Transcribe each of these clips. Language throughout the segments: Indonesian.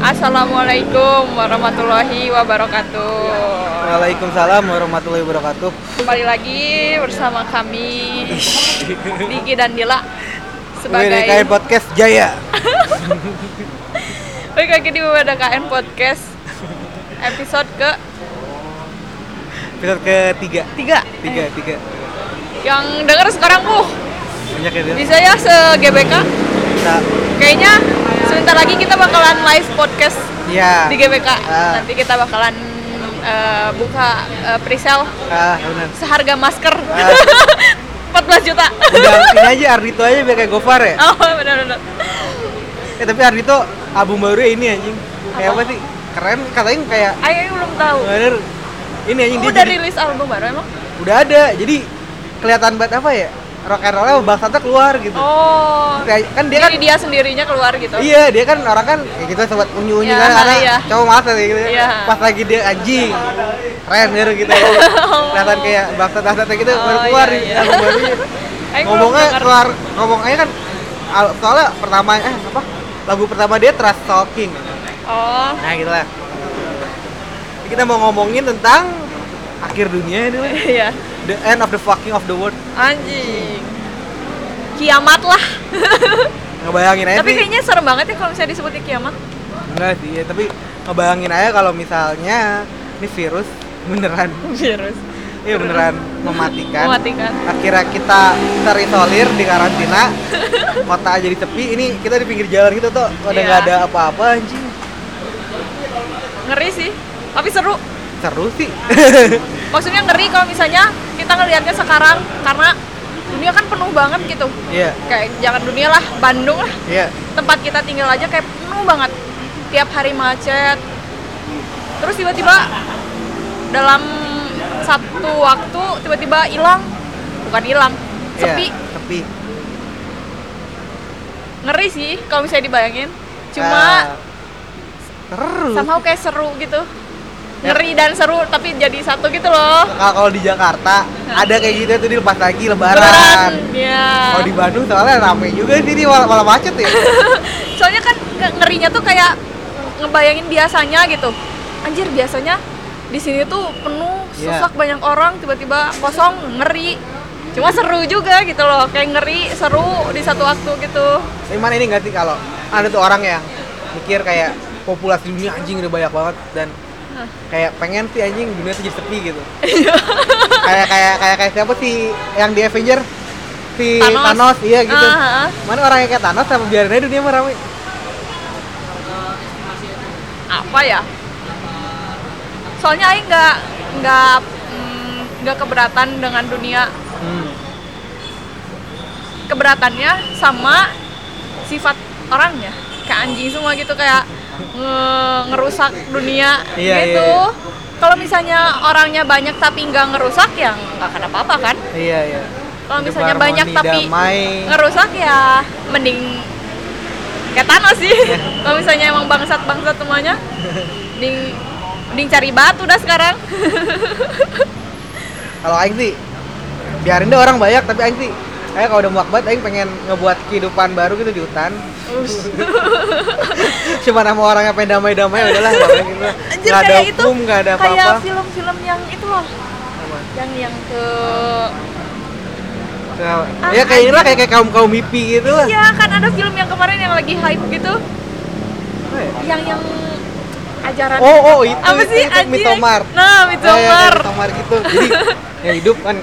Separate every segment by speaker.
Speaker 1: Assalamualaikum warahmatullahi wabarakatuh.
Speaker 2: Waalaikumsalam warahmatullahi wabarakatuh.
Speaker 1: Kembali lagi bersama kami Diki dan Dila
Speaker 2: WDKI
Speaker 1: sebagai
Speaker 2: Podcast Jaya.
Speaker 1: Baik lagi di WDKN Podcast episode ke
Speaker 2: Episode ketiga.
Speaker 1: tiga
Speaker 2: Tiga, tiga.
Speaker 1: yang dengar sekarang uh
Speaker 2: Banyak ya, Dil?
Speaker 1: bisa ya se GBK
Speaker 2: Bisa.
Speaker 1: kayaknya sebentar lagi kita bakalan live podcast
Speaker 2: Ya.
Speaker 1: di GBK
Speaker 2: Ah.
Speaker 1: nanti kita bakalan eh, buka eh, presale
Speaker 2: Ah, benar.
Speaker 1: seharga masker
Speaker 2: Ah.
Speaker 1: 14 juta
Speaker 2: Udah ini aja Ardito aja biar kayak Gofar ya.
Speaker 1: oh benar-benar
Speaker 2: Eh tapi Ardito album baru ini anjing. Kayak
Speaker 1: Apa?
Speaker 2: apa sih? Keren katanya kayak
Speaker 1: Ayo belum tahu
Speaker 2: bener ini anjing dia
Speaker 1: Oh, udah
Speaker 2: jadi-
Speaker 1: rilis album baru emang
Speaker 2: udah ada. Jadi kelihatan banget apa ya? Rock and roll bahasanya keluar gitu.
Speaker 1: oh
Speaker 2: Kayak- kan dia
Speaker 1: jadi
Speaker 2: kan
Speaker 1: dia sendirinya keluar gitu
Speaker 2: Iya, dia kan orang kan ya kita sobat unyu-unyu
Speaker 1: Iya,
Speaker 2: kan karena
Speaker 1: iya.
Speaker 2: cowok malas ya, gitu. kan.
Speaker 1: Iya.
Speaker 2: Pas lagi dia anjing. Keren gitu gitu. Kelihatan kayak bangsa dasar gitu
Speaker 1: Oh,
Speaker 2: baru keluar
Speaker 1: iya,
Speaker 2: di
Speaker 1: iya.
Speaker 2: album barunya.
Speaker 1: Aing belum
Speaker 2: Ngomongnya
Speaker 1: denger.
Speaker 2: keluar ngomongnya kan al- soalnya pertama eh apa? Lagu pertama dia Trust Talking.
Speaker 1: oh
Speaker 2: Nah, gitu lah. Jadi Kita mau ngomongin tentang akhir dunia ini. lah.
Speaker 1: iya
Speaker 2: The end of the fucking of the world.
Speaker 1: anjing kiamat lah
Speaker 2: Ngebayangin aja
Speaker 1: tapi
Speaker 2: sih.
Speaker 1: kayaknya serem banget ya kalau misalnya disebutnya kiamat
Speaker 2: Enggak sih, ya, tapi ngebayangin aja kalau misalnya ini virus beneran
Speaker 1: virus kan?
Speaker 2: Iya beneran mematikan.
Speaker 1: mematikan
Speaker 2: Akhirnya kita terisolir di karantina. Kota jadi tepi. Ini kita di pinggir jalan gitu tuh. Udah nggak
Speaker 1: Iya.
Speaker 2: ada apa-apa anjing.
Speaker 1: ngeri sih tapi seru
Speaker 2: Seru sih.
Speaker 1: maksudnya ngeri kalau misalnya kita ngelihatnya sekarang karena dunia kan penuh banget gitu
Speaker 2: Iya.
Speaker 1: kayak jangan dunia lah Bandung lah
Speaker 2: Iya.
Speaker 1: tempat kita tinggal aja kayak penuh banget tiap hari macet terus tiba-tiba dalam satu waktu tiba-tiba hilang bukan hilang
Speaker 2: Iya.
Speaker 1: sepi
Speaker 2: Tepi.
Speaker 1: ngeri sih kalau misalnya dibayangin cuma
Speaker 2: Ah. seru.
Speaker 1: somehow kayak seru gitu
Speaker 2: Ya.
Speaker 1: ngeri dan seru tapi jadi satu gitu loh
Speaker 2: Kalau kalau di Jakarta ada kayak gitu tuh di pas lagi lebaran.
Speaker 1: Lebaran, ya
Speaker 2: Kalau di Bandung soalnya rame juga sih ini malah, malah macet ya.
Speaker 1: soalnya kan nge- ngerinya tuh kayak ngebayangin biasanya gitu anjir biasanya di sini tuh penuh
Speaker 2: Iya.
Speaker 1: susah banyak orang tiba-tiba kosong ngeri cuma seru juga gitu loh kayak ngeri seru di satu waktu gitu
Speaker 2: Cuman ini nggak sih kalau ada tuh orang yang mikir kayak populasi dunia anjing udah banyak banget dan
Speaker 1: Hah. Iya.
Speaker 2: kayak pengen sih anjing dunia tuh jadi sepi gitu. kayak kayak kayak kayak siapa sih yang di Avenger si
Speaker 1: Thanos.
Speaker 2: Thanos, iya gitu.
Speaker 1: Ah, ah.
Speaker 2: Mana orang yang kayak Thanos sama biarin aja dunia mah rame.
Speaker 1: apa ya soalnya Aing nggak nggak mm, nggak keberatan dengan dunia keberatannya sama sifat orangnya kayak anjing semua gitu kayak nge- ngerusak dunia
Speaker 2: Iya,
Speaker 1: gitu
Speaker 2: iya, iya.
Speaker 1: kalau misalnya orangnya banyak tapi nggak ngerusak ya nggak akan apa-apa kan
Speaker 2: Iya iya.
Speaker 1: kalau
Speaker 2: Hidup
Speaker 1: misalnya
Speaker 2: harmoni,
Speaker 1: banyak tapi
Speaker 2: damai.
Speaker 1: ngerusak ya mending kayak Thanos sih kalau misalnya emang bangsat-bangsat semuanya mending mending cari batu dah sekarang
Speaker 2: Kalau aing sih biarin deh orang banyak tapi aing sih kayak kalau udah muak banget aing pengen ngebuat kehidupan baru gitu di hutan. Cuma nama orang yang pengen damai-damai udahlah nggak pengen gitu.
Speaker 1: Anjir
Speaker 2: Nggak ada
Speaker 1: kayak itu
Speaker 2: hukum, nggak ada apa-apa.
Speaker 1: kayak film-film yang itu loh yang yang ke
Speaker 2: Nah, ya kayak inilah kayak, kayak kaum kaum hippie gitu lah.
Speaker 1: iya kan ada film yang kemarin yang lagi hype gitu
Speaker 2: Apa ya?
Speaker 1: yang yang ajaran
Speaker 2: Oh oh itu
Speaker 1: apa
Speaker 2: itu,
Speaker 1: sih
Speaker 2: itu,
Speaker 1: anjing?
Speaker 2: mitomar.
Speaker 1: nah
Speaker 2: Kayak- kayak
Speaker 1: mitomar
Speaker 2: mitomar gitu. Jadi ya hidup kan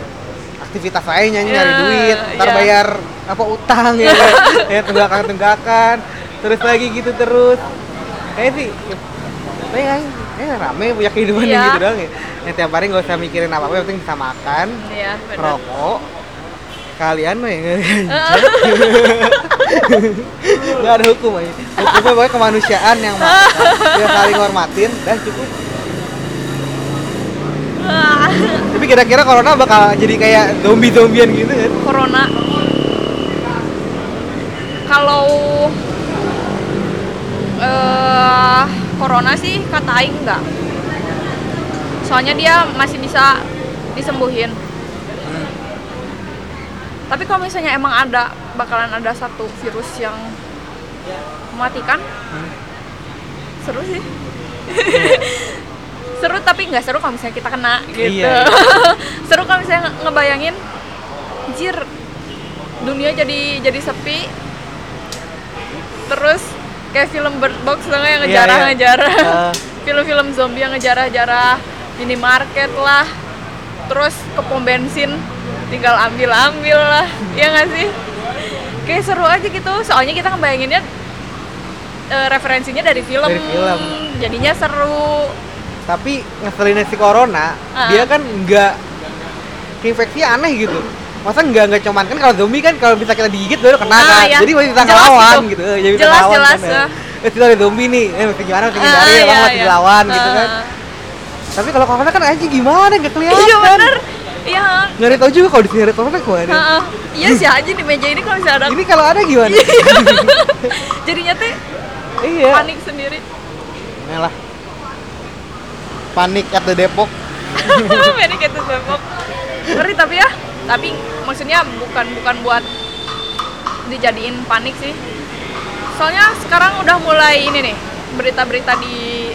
Speaker 2: aktivitas lain nyanyi
Speaker 1: Ya,
Speaker 2: nyari duit, ntar
Speaker 1: ya.
Speaker 2: bayar apa utang ya, kan? ya tunggakan tunggakan, terus lagi gitu terus. Kayak sih, kayak kayak rame punya kehidupan yang
Speaker 1: Iya.
Speaker 2: gitu doang ya. Ya, tiap hari nggak usah mikirin apa apa, yang penting bisa makan,
Speaker 1: iya benar
Speaker 2: rokok. Kalian mah ya nggak ada hukum aja. Hukumnya pokoknya kemanusiaan yang makan, ya saling hormatin, dan cukup.
Speaker 1: Ah,
Speaker 2: Tapi kira-kira corona bakal jadi kayak zombie-zombian gitu kan?
Speaker 1: corona kalau eh corona sih kata aing enggak soalnya dia masih bisa disembuhin tapi kalau misalnya emang ada bakalan ada satu virus yang mematikan seru sih seru tapi nggak seru kalau misalnya kita kena gitu
Speaker 2: Iya.
Speaker 1: seru kalau misalnya nge- ngebayangin jir dunia jadi jadi sepi terus kayak film Bird Box lah yang
Speaker 2: Iya, iya.
Speaker 1: ngejarah-ngejarah
Speaker 2: Ah.
Speaker 1: film-film zombie yang ngejarah-jarah minimarket lah terus ke pom bensin tinggal ambil-ambil lah ya nggak sih kayak seru aja gitu soalnya kita ngebayanginnya eh, referensinya dari film.
Speaker 2: Dari film.
Speaker 1: jadinya seru
Speaker 2: tapi ngeselinnya si corona
Speaker 1: Ah.
Speaker 2: dia kan nggak infeksi aneh gitu masa nggak nggak cuman kan kalau zombie kan kalau bisa kita digigit baru kena
Speaker 1: Ah,
Speaker 2: kan
Speaker 1: iya.
Speaker 2: jadi masih bisa
Speaker 1: Jelas
Speaker 2: ngelawan
Speaker 1: gitu.
Speaker 2: gitu, Eh, jadi bisa
Speaker 1: Jelas,
Speaker 2: ngelawan
Speaker 1: jelas,
Speaker 2: kan, ya.
Speaker 1: ah.
Speaker 2: eh kita ada zombie nih eh mesti gimana mesti
Speaker 1: Ah,
Speaker 2: hindari ya,
Speaker 1: iya,
Speaker 2: bang mesti
Speaker 1: iya.
Speaker 2: dilawan gitu
Speaker 1: Ah.
Speaker 2: kan tapi kalau corona kan aja gimana nggak kelihatan
Speaker 1: iya bener iya
Speaker 2: nyari tau juga kalau di sini ada corona gimana
Speaker 1: ah, ah. iya sih aja di meja ini kalau misalnya ada
Speaker 2: ini kalau ada gimana
Speaker 1: Iya. jadinya tuh
Speaker 2: iya
Speaker 1: panik sendiri
Speaker 2: Ini lah panik at the Depok
Speaker 1: Many Cat is Bangkok. Ngeri tapi ya. Tapi maksudnya bukan bukan buat dijadiin panik sih. Soalnya sekarang udah mulai ini nih berita-berita di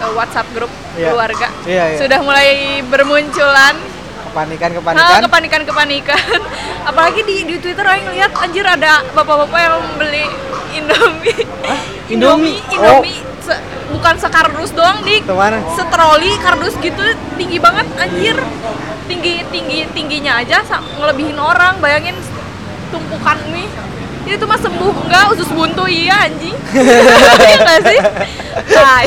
Speaker 1: eh, WhatsApp grup
Speaker 2: Iya.
Speaker 1: keluarga
Speaker 2: Iya, iya.
Speaker 1: sudah mulai bermunculan
Speaker 2: kepanikan
Speaker 1: Ah,
Speaker 2: kepanikan
Speaker 1: kepanikan kepanikan apalagi di di Twitter orang ngeliat anjir ada bapak-bapak yang beli Indomie
Speaker 2: Indomie? Oh.
Speaker 1: Indomie Se- bukan sekardus doang dik
Speaker 2: Kemana?
Speaker 1: setroli kardus gitu tinggi banget anjir tinggi tinggi tingginya aja sa- ngelebihin orang bayangin tumpukan mie itu mah sembuh enggak usus buntu iya anjing iya nggak sih Tai.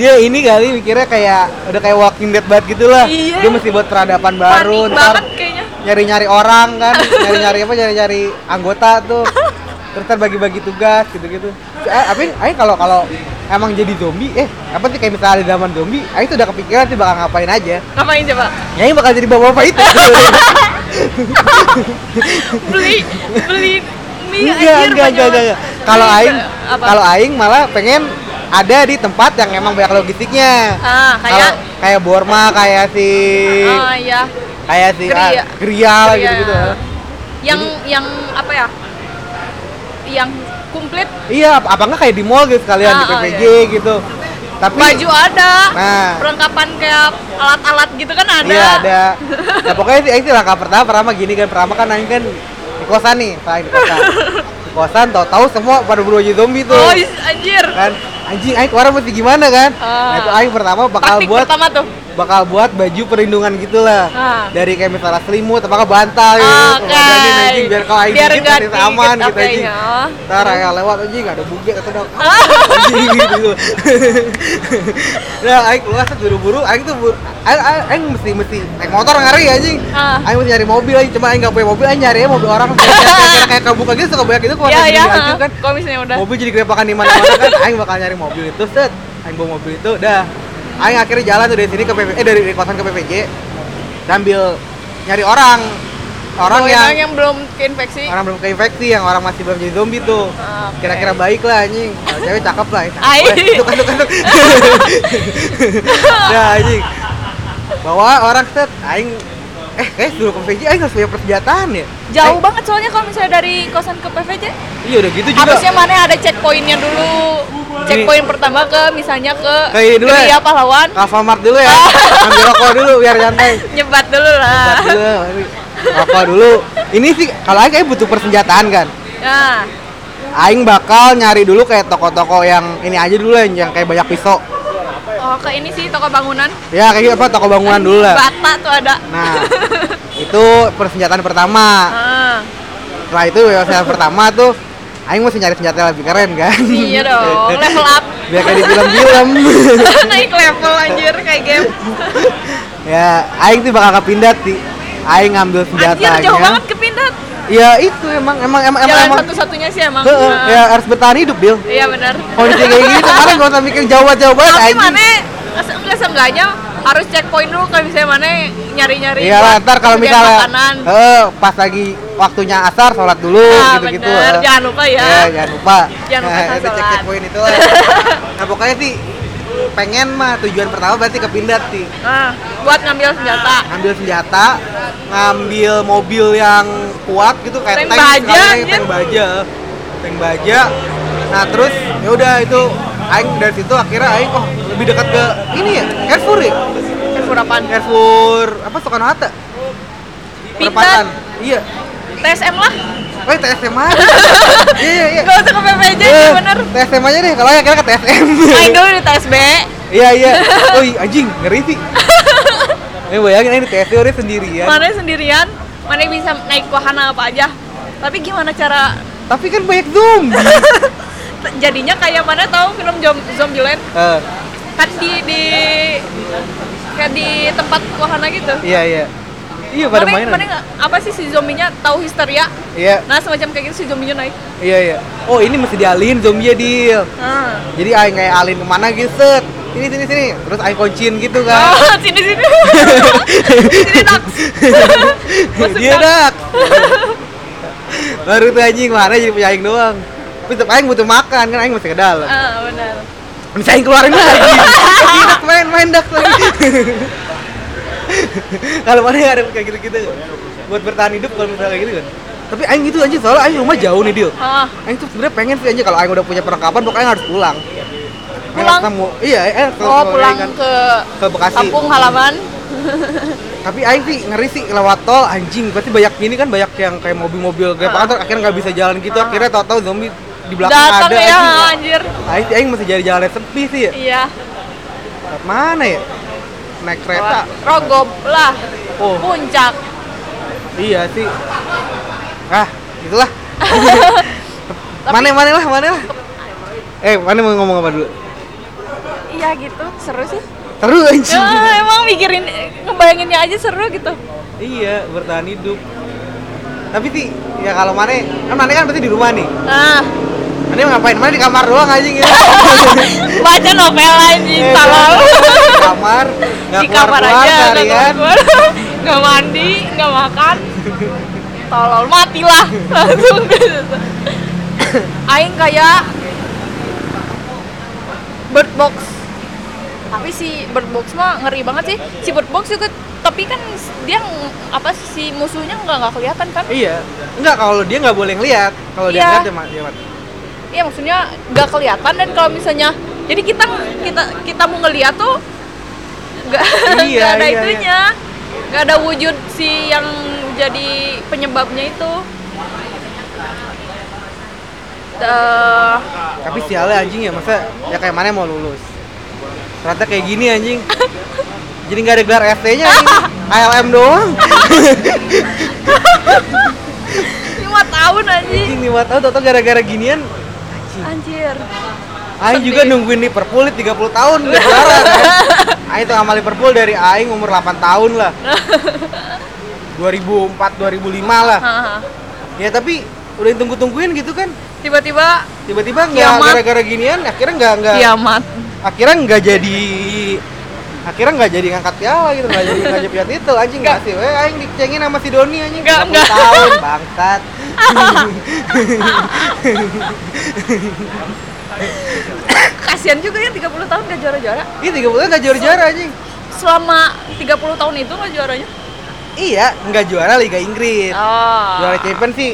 Speaker 2: dia ini kali mikirnya kayak udah kayak walking dead banget gitu lah
Speaker 1: Iya.
Speaker 2: dia mesti buat peradaban
Speaker 1: panik
Speaker 2: baru ntar
Speaker 1: banget kayaknya
Speaker 2: nyari-nyari orang kan nyari-nyari apa nyari-nyari anggota tuh terus ntar bagi-bagi tugas gitu-gitu eh, tapi ayo kalau kalau emang jadi zombie eh apa sih kayak misalnya ada zaman zombie ayo tuh udah kepikiran sih bakal ngapain aja
Speaker 1: ngapain coba
Speaker 2: nyai bakal jadi bapak-bapak itu
Speaker 1: beli beli mie
Speaker 2: Iya, enggak
Speaker 1: Iya, anjir
Speaker 2: enggak enggak
Speaker 1: banyak
Speaker 2: enggak.
Speaker 1: banget.
Speaker 2: kalau
Speaker 1: Beli
Speaker 2: aing
Speaker 1: ke- apa?
Speaker 2: kalau aing malah pengen ada di tempat yang emang banyak logistiknya
Speaker 1: ah kayak
Speaker 2: Kalau kayak Borma kayak si
Speaker 1: ah ya
Speaker 2: kayak si ah,
Speaker 1: Geria.
Speaker 2: Geria lah
Speaker 1: Iya.
Speaker 2: gitu-gitu.
Speaker 1: yang yang apa ya yang komplit
Speaker 2: Iya, apa apa enggak kayak di mall gitu sekalian di
Speaker 1: Ah, ah,
Speaker 2: PPG gitu. Tapi
Speaker 1: baju ada
Speaker 2: Nah.
Speaker 1: perlengkapan kayak alat-alat gitu kan ada
Speaker 2: Iya, ada. Nah, pokoknya sih, aing sih langkah pertama pertama gini kan pertama kan aing kan di kosan nih, paling di kosan. di kosan tahu-tahu semua pada berubah jadi zombie tuh.
Speaker 1: oh is- anjir
Speaker 2: Kan anjing aing keluar mesti gimana kan?
Speaker 1: Ah.
Speaker 2: Nah, itu aing pertama bakal
Speaker 1: taktik
Speaker 2: buat
Speaker 1: pertama tuh
Speaker 2: bakal buat baju perlindungan gitulah
Speaker 1: Ah.
Speaker 2: dari kayak misalnya selimut apa nggak bantal gitu
Speaker 1: Oke.
Speaker 2: Kemudian ini, anjing, biar kalau aing
Speaker 1: Biar
Speaker 2: dikit
Speaker 1: nggak
Speaker 2: masih
Speaker 1: dikit,
Speaker 2: aman gitu
Speaker 1: oke,
Speaker 2: anjing
Speaker 1: ya. Ah.
Speaker 2: ntar yang lewat anjing nggak ada bugil atau dong anjing gitu nah aing keluar set buru-buru aing tuh buru- aing, aing, aing mesti mesti naik motor ngari anjing
Speaker 1: Ah.
Speaker 2: aing mesti nyari mobil anjing cuma aing nggak punya mobil aing nyari aja mobil orang kayak kayak kebuka gitu suka banyak gitu keluar
Speaker 1: ya
Speaker 2: dari
Speaker 1: ya
Speaker 2: anjing kan
Speaker 1: kalau misalnya udah
Speaker 2: mobil jadi gerebakan di mana-mana kan aing bakal nyari mobil itu set aing bawa mobil itu dah aing akhirnya jalan tuh dari sini ke PPJ eh dari, dari kosan ke PPJ sambil nyari orang orang
Speaker 1: Bawain
Speaker 2: yang,
Speaker 1: orang yang belum keinfeksi
Speaker 2: orang belum keinfeksi yang orang masih belum jadi zombie tuh
Speaker 1: Ah, Oke.
Speaker 2: kira-kira baik lah anjing kalau cewek cakep lah ya,
Speaker 1: Ai.
Speaker 2: cakep lah. tuk tuk tuk tuk. dah anjing bawa orang set aing eh guys dulu ke PPJ aing harus punya persenjataan ya
Speaker 1: jauh
Speaker 2: Eh,
Speaker 1: banget soalnya kalau misalnya dari kosan ke PVJ
Speaker 2: iya udah gitu juga
Speaker 1: harusnya mana ada checkpointnya dulu checkpoint pertama ke misalnya ke
Speaker 2: Ke ini dulu ya?
Speaker 1: Geria pahlawan
Speaker 2: Alfamart dulu ya ambil rokok dulu biar santai
Speaker 1: nyebat dulu
Speaker 2: Obat
Speaker 1: lah
Speaker 2: dulu, rokok dulu. Ini sih kalau aing kayak butuh persenjataan kan.
Speaker 1: nah
Speaker 2: Aing bakal nyari dulu kayak toko-toko yang ini aja dulu lah, yang kayak banyak pisau.
Speaker 1: oh ke ini sih toko bangunan
Speaker 2: Ya kayak gitu, apa toko bangunan dulu lah.
Speaker 1: bata tuh ada
Speaker 2: Nah, itu persenjataan pertama.
Speaker 1: Ah,
Speaker 2: Setelah itu ya, persenjataan pertama tuh aing mesti nyari senjata yang lebih keren kan.
Speaker 1: iya dong level up
Speaker 2: Biar kayak di film-film.
Speaker 1: naik level anjir kayak game
Speaker 2: ya, aing tuh bakal kepindat sih. Aing ngambil
Speaker 1: anjir
Speaker 2: senjatanya.
Speaker 1: jauh banget ke Pindad
Speaker 2: Ya itu emang emang emang
Speaker 1: jalan
Speaker 2: emang.
Speaker 1: satu-satunya sih emang
Speaker 2: Heeh,
Speaker 1: Nah,
Speaker 2: ya harus bertahan hidup, Bil.
Speaker 1: iya benar
Speaker 2: kondisi kayak gini sekarang gak usah mikir jauh-jauh banget
Speaker 1: tapi
Speaker 2: anjing.
Speaker 1: mana nggak nggak seenggaknya harus checkpoint dulu kalau misalnya mana nyari-nyari
Speaker 2: Iya lah,
Speaker 1: buat
Speaker 2: ntar kalau
Speaker 1: bagian
Speaker 2: misalnya
Speaker 1: makanan
Speaker 2: eh, pas lagi waktunya asar sholat dulu
Speaker 1: Nah,
Speaker 2: gitu-gitu.
Speaker 1: bener.
Speaker 2: eh.
Speaker 1: Jangan lupa ya.
Speaker 2: Iya, jangan lupa. Eh,
Speaker 1: Jangan lupa asar
Speaker 2: itu
Speaker 1: sholat.
Speaker 2: cek poin itu lah. nah, pokoknya sih pengen mah tujuan pertama berarti kepindat sih.
Speaker 1: nah, buat ngambil senjata
Speaker 2: Ngambil senjata, ngambil mobil yang kuat gitu kayak
Speaker 1: Tank baja,
Speaker 2: sekali lagi,
Speaker 1: anjir.
Speaker 2: tank baja. Tank baja. Nah, terus ya udah itu Aing dari situ akhirnya Aing oh lebih dekat ke ini ya Carrefour ya
Speaker 1: Carrefour apaan?
Speaker 2: Carrefour apa Soekarno Hatta
Speaker 1: Pintar.
Speaker 2: perempatan iya
Speaker 1: TSM lah
Speaker 2: oh iya, TSM aja iya iya iya
Speaker 1: Gak usah ke PPJ,
Speaker 2: Eh,
Speaker 1: iya bener
Speaker 2: TSM aja deh kalau yang kira ke TSM
Speaker 1: Aing dulu di TSB
Speaker 2: iya iya oh iya, anjing ngeri sih ini bayangin ini TSM udah sendirian
Speaker 1: Mana sendirian, mana bisa naik wahana apa aja Tapi gimana cara
Speaker 2: tapi kan banyak zombie
Speaker 1: Jadinya kayak mana tahu film Zom- Zombieland
Speaker 2: Eh,
Speaker 1: Kan di, di Kayak di tempat wahana gitu
Speaker 2: iya iya iya pada
Speaker 1: Mana-
Speaker 2: mainan
Speaker 1: mana nggak- apa sih si zombinya tahu histeria
Speaker 2: iya
Speaker 1: Nah semacam kayak gitu si zombinya naik
Speaker 2: iya iya oh ini mesti dialihin zombie deal
Speaker 1: Ah.
Speaker 2: jadi aing kayak alin kemana gitu set sini sini sini terus aing kunciin gitu kan
Speaker 1: Oh, sini sini. sini tak. Masuk
Speaker 2: dia
Speaker 1: tak.
Speaker 2: dak baru tuh anjing mana jadi punya aing doang terus tetep aing butuh makan kan aing masih ke dalam
Speaker 1: Ah, benar.
Speaker 2: bisa aing keluarin lagi Ih, dak main main dak lagi kalau mana yang ada kayak gitu gitu buat bertahan hidup kalau misalnya kayak gitu kan tapi aing itu anjing soalnya aing rumah jauh nih deal
Speaker 1: Ah,
Speaker 2: Aing tuh Eh, sebenarnya pengen sih aja kalau Aing udah punya perlengkapan pokoknya Aing harus pulang. Pengen
Speaker 1: Pulang?
Speaker 2: Ketemu. Iya, eh, ketemu
Speaker 1: oh
Speaker 2: sama
Speaker 1: pulang
Speaker 2: Aing kan.
Speaker 1: ke
Speaker 2: ke Bekasi.
Speaker 1: kampung halaman.
Speaker 2: Tapi Aing sih ngeri sih lewat tol anjing. Pasti banyak gini kan banyak yang kayak mobil-mobil grab
Speaker 1: Ah.
Speaker 2: kantor akhirnya nggak bisa jalan gitu. Akhirnya tahu-tahu zombie di belakang
Speaker 1: Datang
Speaker 2: ada.
Speaker 1: ya
Speaker 2: anjing.
Speaker 1: anjir.
Speaker 2: Aing, Aing masih jadi jalan yang sepi sih ya.
Speaker 1: Iya.
Speaker 2: Lewat Mana ya? Naik kereta.
Speaker 1: Rogop lah.
Speaker 2: Oh.
Speaker 1: Puncak.
Speaker 2: Iya sih. Ah, itulah. mana mana lah, mana lah. Eh, mana mau ngomong apa dulu?
Speaker 1: Iya gitu, seru sih.
Speaker 2: Terus anjing.
Speaker 1: Ya, emang mikirin ngebayanginnya aja seru gitu.
Speaker 2: Iya, bertahan hidup. Tapi sih, ya kalau Mane, kan Mane kan berarti di rumah nih.
Speaker 1: Nah,
Speaker 2: Mane mau ngapain? Mane di kamar doang anjing ya.
Speaker 1: Oh, baca novel anjing,
Speaker 2: Eh,
Speaker 1: tolong.
Speaker 2: Di kamar, nggak
Speaker 1: Di kamar
Speaker 2: keluar-keluar
Speaker 1: aja,
Speaker 2: seharian.
Speaker 1: nggak keluar. Nggak mandi, nggak makan. Tolol matilah langsung. Aing kayak bird box. Tapi si bird box mah ngeri banget sih. Si bird box juga tapi kan dia ng- apa sih, si musuhnya nggak nggak kelihatan kan?
Speaker 2: Iya, enggak kalau dia nggak boleh ngeliat. Kalau dia
Speaker 1: Iya.
Speaker 2: ngeliat ya dia mati. Dia mati.
Speaker 1: Iya maksudnya nggak kelihatan dan kalau misalnya jadi kita kita kita mau ngeliat tuh nggak
Speaker 2: Iya,
Speaker 1: nggak ada
Speaker 2: iya, iya.
Speaker 1: itunya nggak ada wujud si yang jadi penyebabnya itu eh
Speaker 2: Tapi sialnya anjing ya, masa ya kayak Mane mau lulus. Ternyata kayak gini anjing. Jadi nggak ada gelar ST-nya anjing. ALM doang.
Speaker 1: lima tahun anjing
Speaker 2: Anjing nih tahu tau gara-gara ginian
Speaker 1: anjir
Speaker 2: Aing juga
Speaker 1: Sedih.
Speaker 2: nungguin Liverpool 30 tahun gak kelar. Aing tuh sama Liverpool dari Aing umur 8 tahun lah. 2004 2005 lah.
Speaker 1: Haha.
Speaker 2: Ya tapi udah ditunggu-tungguin gitu kan.
Speaker 1: tiba-tiba
Speaker 2: Tiba-tiba nggak
Speaker 1: Kiamat. Iya.
Speaker 2: gara-gara ginian akhirnya nggak nggak
Speaker 1: kiamat
Speaker 2: akhirnya nggak jadi akhirnya nggak jadi ngangkat piala gitu nggak jadi nggak jadi piala titel anjing nggak sih eh aing dicengin sama si Doni anjing
Speaker 1: Nggak,
Speaker 2: 30
Speaker 1: nggak.
Speaker 2: tahun bangsat
Speaker 1: kasihan juga ya 30 tahun gak juara-juara
Speaker 2: ini 30 tahun nggak juara-juara anjing
Speaker 1: selama 30 tahun itu gak juaranya
Speaker 2: iya nggak juara Liga Inggris
Speaker 1: oh
Speaker 2: Iya. juara champion sih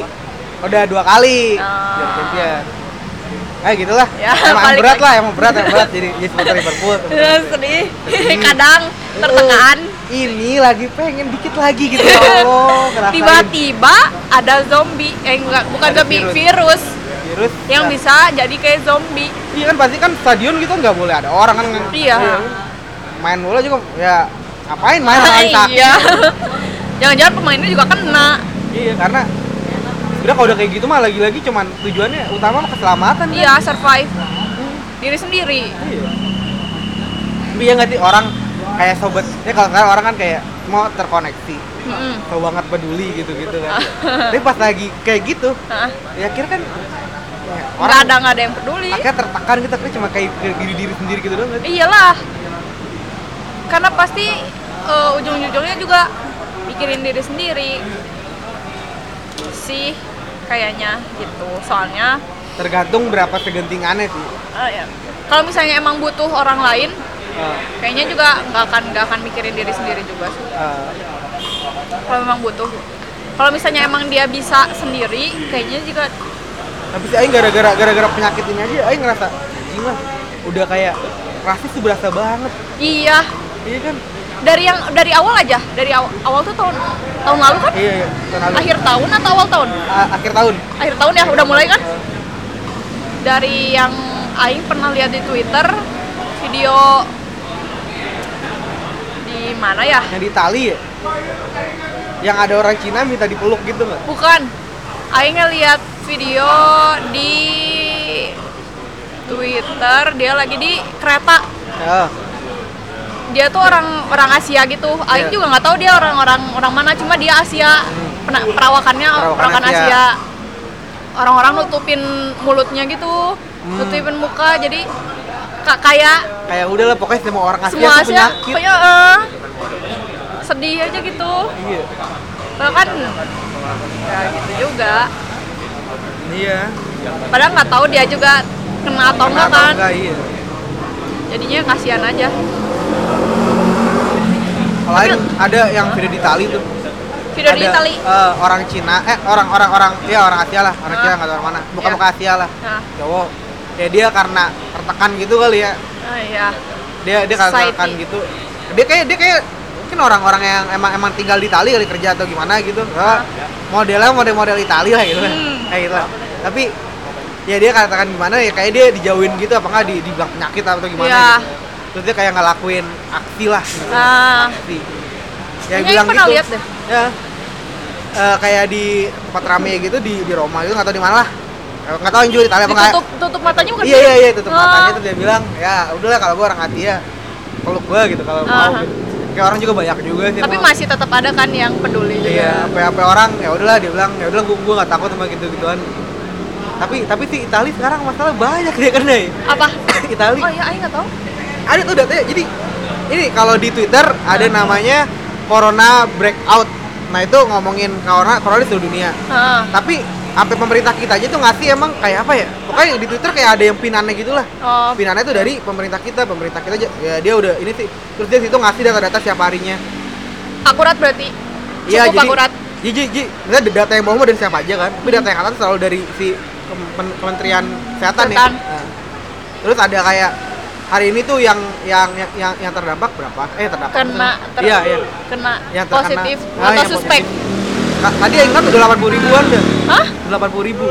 Speaker 2: udah dua kali
Speaker 1: Ah.
Speaker 2: juara champion ah gitulah
Speaker 1: Ya,
Speaker 2: emang
Speaker 1: balik
Speaker 2: berat
Speaker 1: lagi.
Speaker 2: lah emang berat emang berat jadi jadi supporter Liverpool
Speaker 1: Ya, sedih kadang tertekan
Speaker 2: Oh, ini lagi pengen dikit lagi gitu ya Allah ngerasain
Speaker 1: tiba-tiba ada zombie eh enggak bukan
Speaker 2: Ada
Speaker 1: zombie
Speaker 2: virus.
Speaker 1: virus
Speaker 2: virus
Speaker 1: yang
Speaker 2: Nah,
Speaker 1: bisa jadi kayak zombie
Speaker 2: iya kan pasti kan stadion gitu nggak boleh ada orang kan
Speaker 1: Iya.
Speaker 2: main bola juga ya ngapain main sama orang sakit
Speaker 1: iya jangan-jangan pemainnya juga kena
Speaker 2: iya karena udah kalau udah kayak gitu mah lagi-lagi cuman tujuannya utama mah keselamatan kan?
Speaker 1: iya survive diri sendiri
Speaker 2: Iya. Tapi ya nggak sih orang kayak sobat, ya kalau sekarang orang kan kayak mau terkoneksi,
Speaker 1: Mm-mm.
Speaker 2: mau banget peduli gitu-gitu kan. Tapi pas lagi kayak gitu,
Speaker 1: Hah?
Speaker 2: ya akhirnya kan ya,
Speaker 1: nggak ada nggak ada yang peduli
Speaker 2: akhirnya tertekan kita akhirnya cuma kayak ke diri diri sendiri gitu doang. nggak sih?
Speaker 1: iyalah karena pasti eh, ujung-ujungnya juga pikirin diri sendiri sih kayaknya gitu soalnya
Speaker 2: Tergantung berapa segentingannya sih.
Speaker 1: eh, ya.
Speaker 2: iya.
Speaker 1: kalau misalnya emang butuh orang lain
Speaker 2: Eh,
Speaker 1: kayaknya juga nggak akan nggak akan mikirin diri sendiri juga sih
Speaker 2: eh,
Speaker 1: kalau memang butuh kalau misalnya emang dia bisa sendiri kayaknya juga
Speaker 2: tapi sih Aing gara-gara gara-gara penyakit ini aja Aing ngerasa anjing lah udah kayak rasis tuh berasa banget
Speaker 1: Iya,
Speaker 2: iya kan
Speaker 1: dari yang dari awal aja, dari aw- awal tuh tahun tahun lalu kan?
Speaker 2: iya iya tahun lalu.
Speaker 1: Akhir tahun atau awal tahun?
Speaker 2: A- akhir tahun
Speaker 1: Akhir tahun ya udah mulai kan? Dari yang aing pernah lihat di Twitter video di mana ya?
Speaker 2: yang di Itali ya yang ada orang Cina minta dipeluk gitu nggak
Speaker 1: Bukan. Aing ngeliat video di Twitter dia lagi di kereta.
Speaker 2: ya
Speaker 1: Dia tuh orang orang Asia gitu. Aing
Speaker 2: Iya.
Speaker 1: juga nggak tahu dia orang-orang orang mana, cuma dia Asia. Pena- perawakannya
Speaker 2: Perawakan
Speaker 1: perawakan
Speaker 2: Asia.
Speaker 1: Asia. Orang-orang nutupin mulutnya gitu,
Speaker 2: Hmm.
Speaker 1: nutupin muka. Jadi ka- kayak
Speaker 2: kayak udah lah pokoknya semua orang Asia
Speaker 1: semua
Speaker 2: tuh
Speaker 1: Asia
Speaker 2: penyakit
Speaker 1: punya eh, sedih aja gitu.
Speaker 2: iya
Speaker 1: Bahkan ya gitu juga.
Speaker 2: iya
Speaker 1: padahal nggak tahu dia juga kena atau enggak
Speaker 2: Kenapa
Speaker 1: kan
Speaker 2: enggak, iya
Speaker 1: jadinya kasihan aja
Speaker 2: lain ada yang video di Itali tuh
Speaker 1: video di
Speaker 2: Ada,
Speaker 1: Itali
Speaker 2: eh, orang Cina eh orang orang orang ya orang Asia lah orang
Speaker 1: Ah.
Speaker 2: Cina nggak tahu orang mana bukan
Speaker 1: Iya.
Speaker 2: bukan Asia lah
Speaker 1: nah
Speaker 2: cowok ya dia karena tertekan gitu kali ya
Speaker 1: ah, iya
Speaker 2: dia dia karena
Speaker 1: Society.
Speaker 2: tertekan gitu dia kayak dia kayak mungkin orang-orang yang emang emang tinggal di Itali kali kerja atau gimana gitu Ah, modelnya model-model Itali lah gitu lah.
Speaker 1: Hmm.
Speaker 2: kayak gitu lah. tapi ya dia katakan gimana ya kayak dia dijauhin gitu apa enggak di dibilang penyakit atau gimana
Speaker 1: Iya.
Speaker 2: gitu. terus dia kayak ngelakuin aksi lah gitu.
Speaker 1: nah
Speaker 2: Pasti.
Speaker 1: Kayaknya
Speaker 2: Ya bilang
Speaker 1: aku pernah
Speaker 2: gitu.
Speaker 1: lihat deh.
Speaker 2: Ya. Eh, kayak di tempat rame gitu di di Roma gitu nggak tahu di mana lah. Eh, Nggak tahu yang juga di Italia apa nggak.
Speaker 1: ditutup tutup matanya bukan
Speaker 2: Iya
Speaker 1: sih?
Speaker 2: iya iya tutup
Speaker 1: Ah,
Speaker 2: matanya tuh dia bilang ya udahlah kalau gua orang hati ya peluk gua gitu kalau mau.
Speaker 1: Aha.
Speaker 2: Gitu. Kayak orang juga banyak juga sih.
Speaker 1: tapi
Speaker 2: emang.
Speaker 1: masih tetap ada kan yang peduli juga
Speaker 2: Iya, apa apa orang ya udahlah dia bilang ya udahlah gua gua nggak takut sama gitu-gituan. Tapi tapi si Itali sekarang masalah banyak dia kena ya.
Speaker 1: apa
Speaker 2: Itali
Speaker 1: oh iya Aing nggak tahu
Speaker 2: ada tuh datanya jadi ini kalau di Twitter ada namanya Corona Breakout nah itu ngomongin corona corona di seluruh dunia
Speaker 1: ah
Speaker 2: tapi sampai pemerintah kita aja tuh ngasih emang kayak apa ya pokoknya di Twitter kayak ada yang pinannya gitu gitulah
Speaker 1: oh
Speaker 2: pinannya tuh dari pemerintah kita pemerintah kita aja ya dia udah ini sih terus dia situ ngasih data-data setiap harinya
Speaker 1: akurat berarti
Speaker 2: Iya
Speaker 1: cukup
Speaker 2: jadi
Speaker 1: akurat
Speaker 2: Iya, jadi, jadi misalnya ada data yang bawah mah dari siapa aja kan, tapi data yang atas selalu dari si Kemen- Kementerian Kesehatan ya.
Speaker 1: Kesehatan.
Speaker 2: Nah. Terus ada kayak hari ini tuh yang yang yang yang, yang terdampak berapa? Eh terdampak.
Speaker 1: kena ter-
Speaker 2: Iya, iya.
Speaker 1: kena
Speaker 2: Yang terkena.
Speaker 1: positif
Speaker 2: Ah,
Speaker 1: atau
Speaker 2: yang
Speaker 1: suspek
Speaker 2: Ka- Tadi yang kan udah 80 ribuan deh.
Speaker 1: hah
Speaker 2: 80 ribu.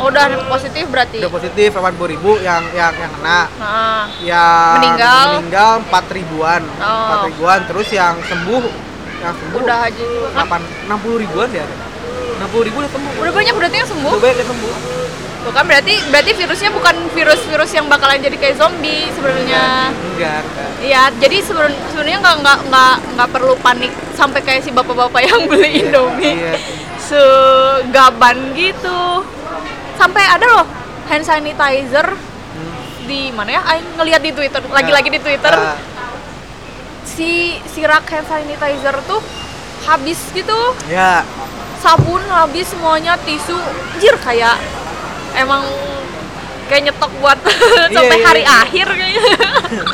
Speaker 1: oh, udah positif berarti
Speaker 2: Udah positif 80 ribu yang yang yang kena.
Speaker 1: nah
Speaker 2: Yang
Speaker 1: Meninggal.
Speaker 2: meninggal 4 ribuan.
Speaker 1: Oh.
Speaker 2: 4 ribuan terus yang sembuh yang sembuh
Speaker 1: udah aja juga kan
Speaker 2: 8 60 ribuan ya. 60 ribu udah sembuh.
Speaker 1: udah banyak berarti yang sembuh
Speaker 2: Udah banyak yang sembuh.
Speaker 1: Bukan kan berarti berarti virusnya bukan virus-virus yang bakalan jadi kayak zombie sebenarnya.
Speaker 2: Enggak, enggak.
Speaker 1: Iya, jadi sebelum- sebenarnya nggak nggak nggak nggak perlu panik sampai kayak si bapak-bapak yang beli Indomie
Speaker 2: Iya.
Speaker 1: segaban gitu. Sampai ada loh hand sanitizer
Speaker 2: Hmm.
Speaker 1: di mana ya? Aing ngelihat di Twitter, lagi-lagi di Twitter
Speaker 2: Ah,
Speaker 1: si si rak hand sanitizer tuh habis gitu,
Speaker 2: ya,
Speaker 1: sabun habis semuanya, tisu, jir kayak emang kayak nyetok buat sampai
Speaker 2: iya,
Speaker 1: hari
Speaker 2: iya.
Speaker 1: akhir kayaknya.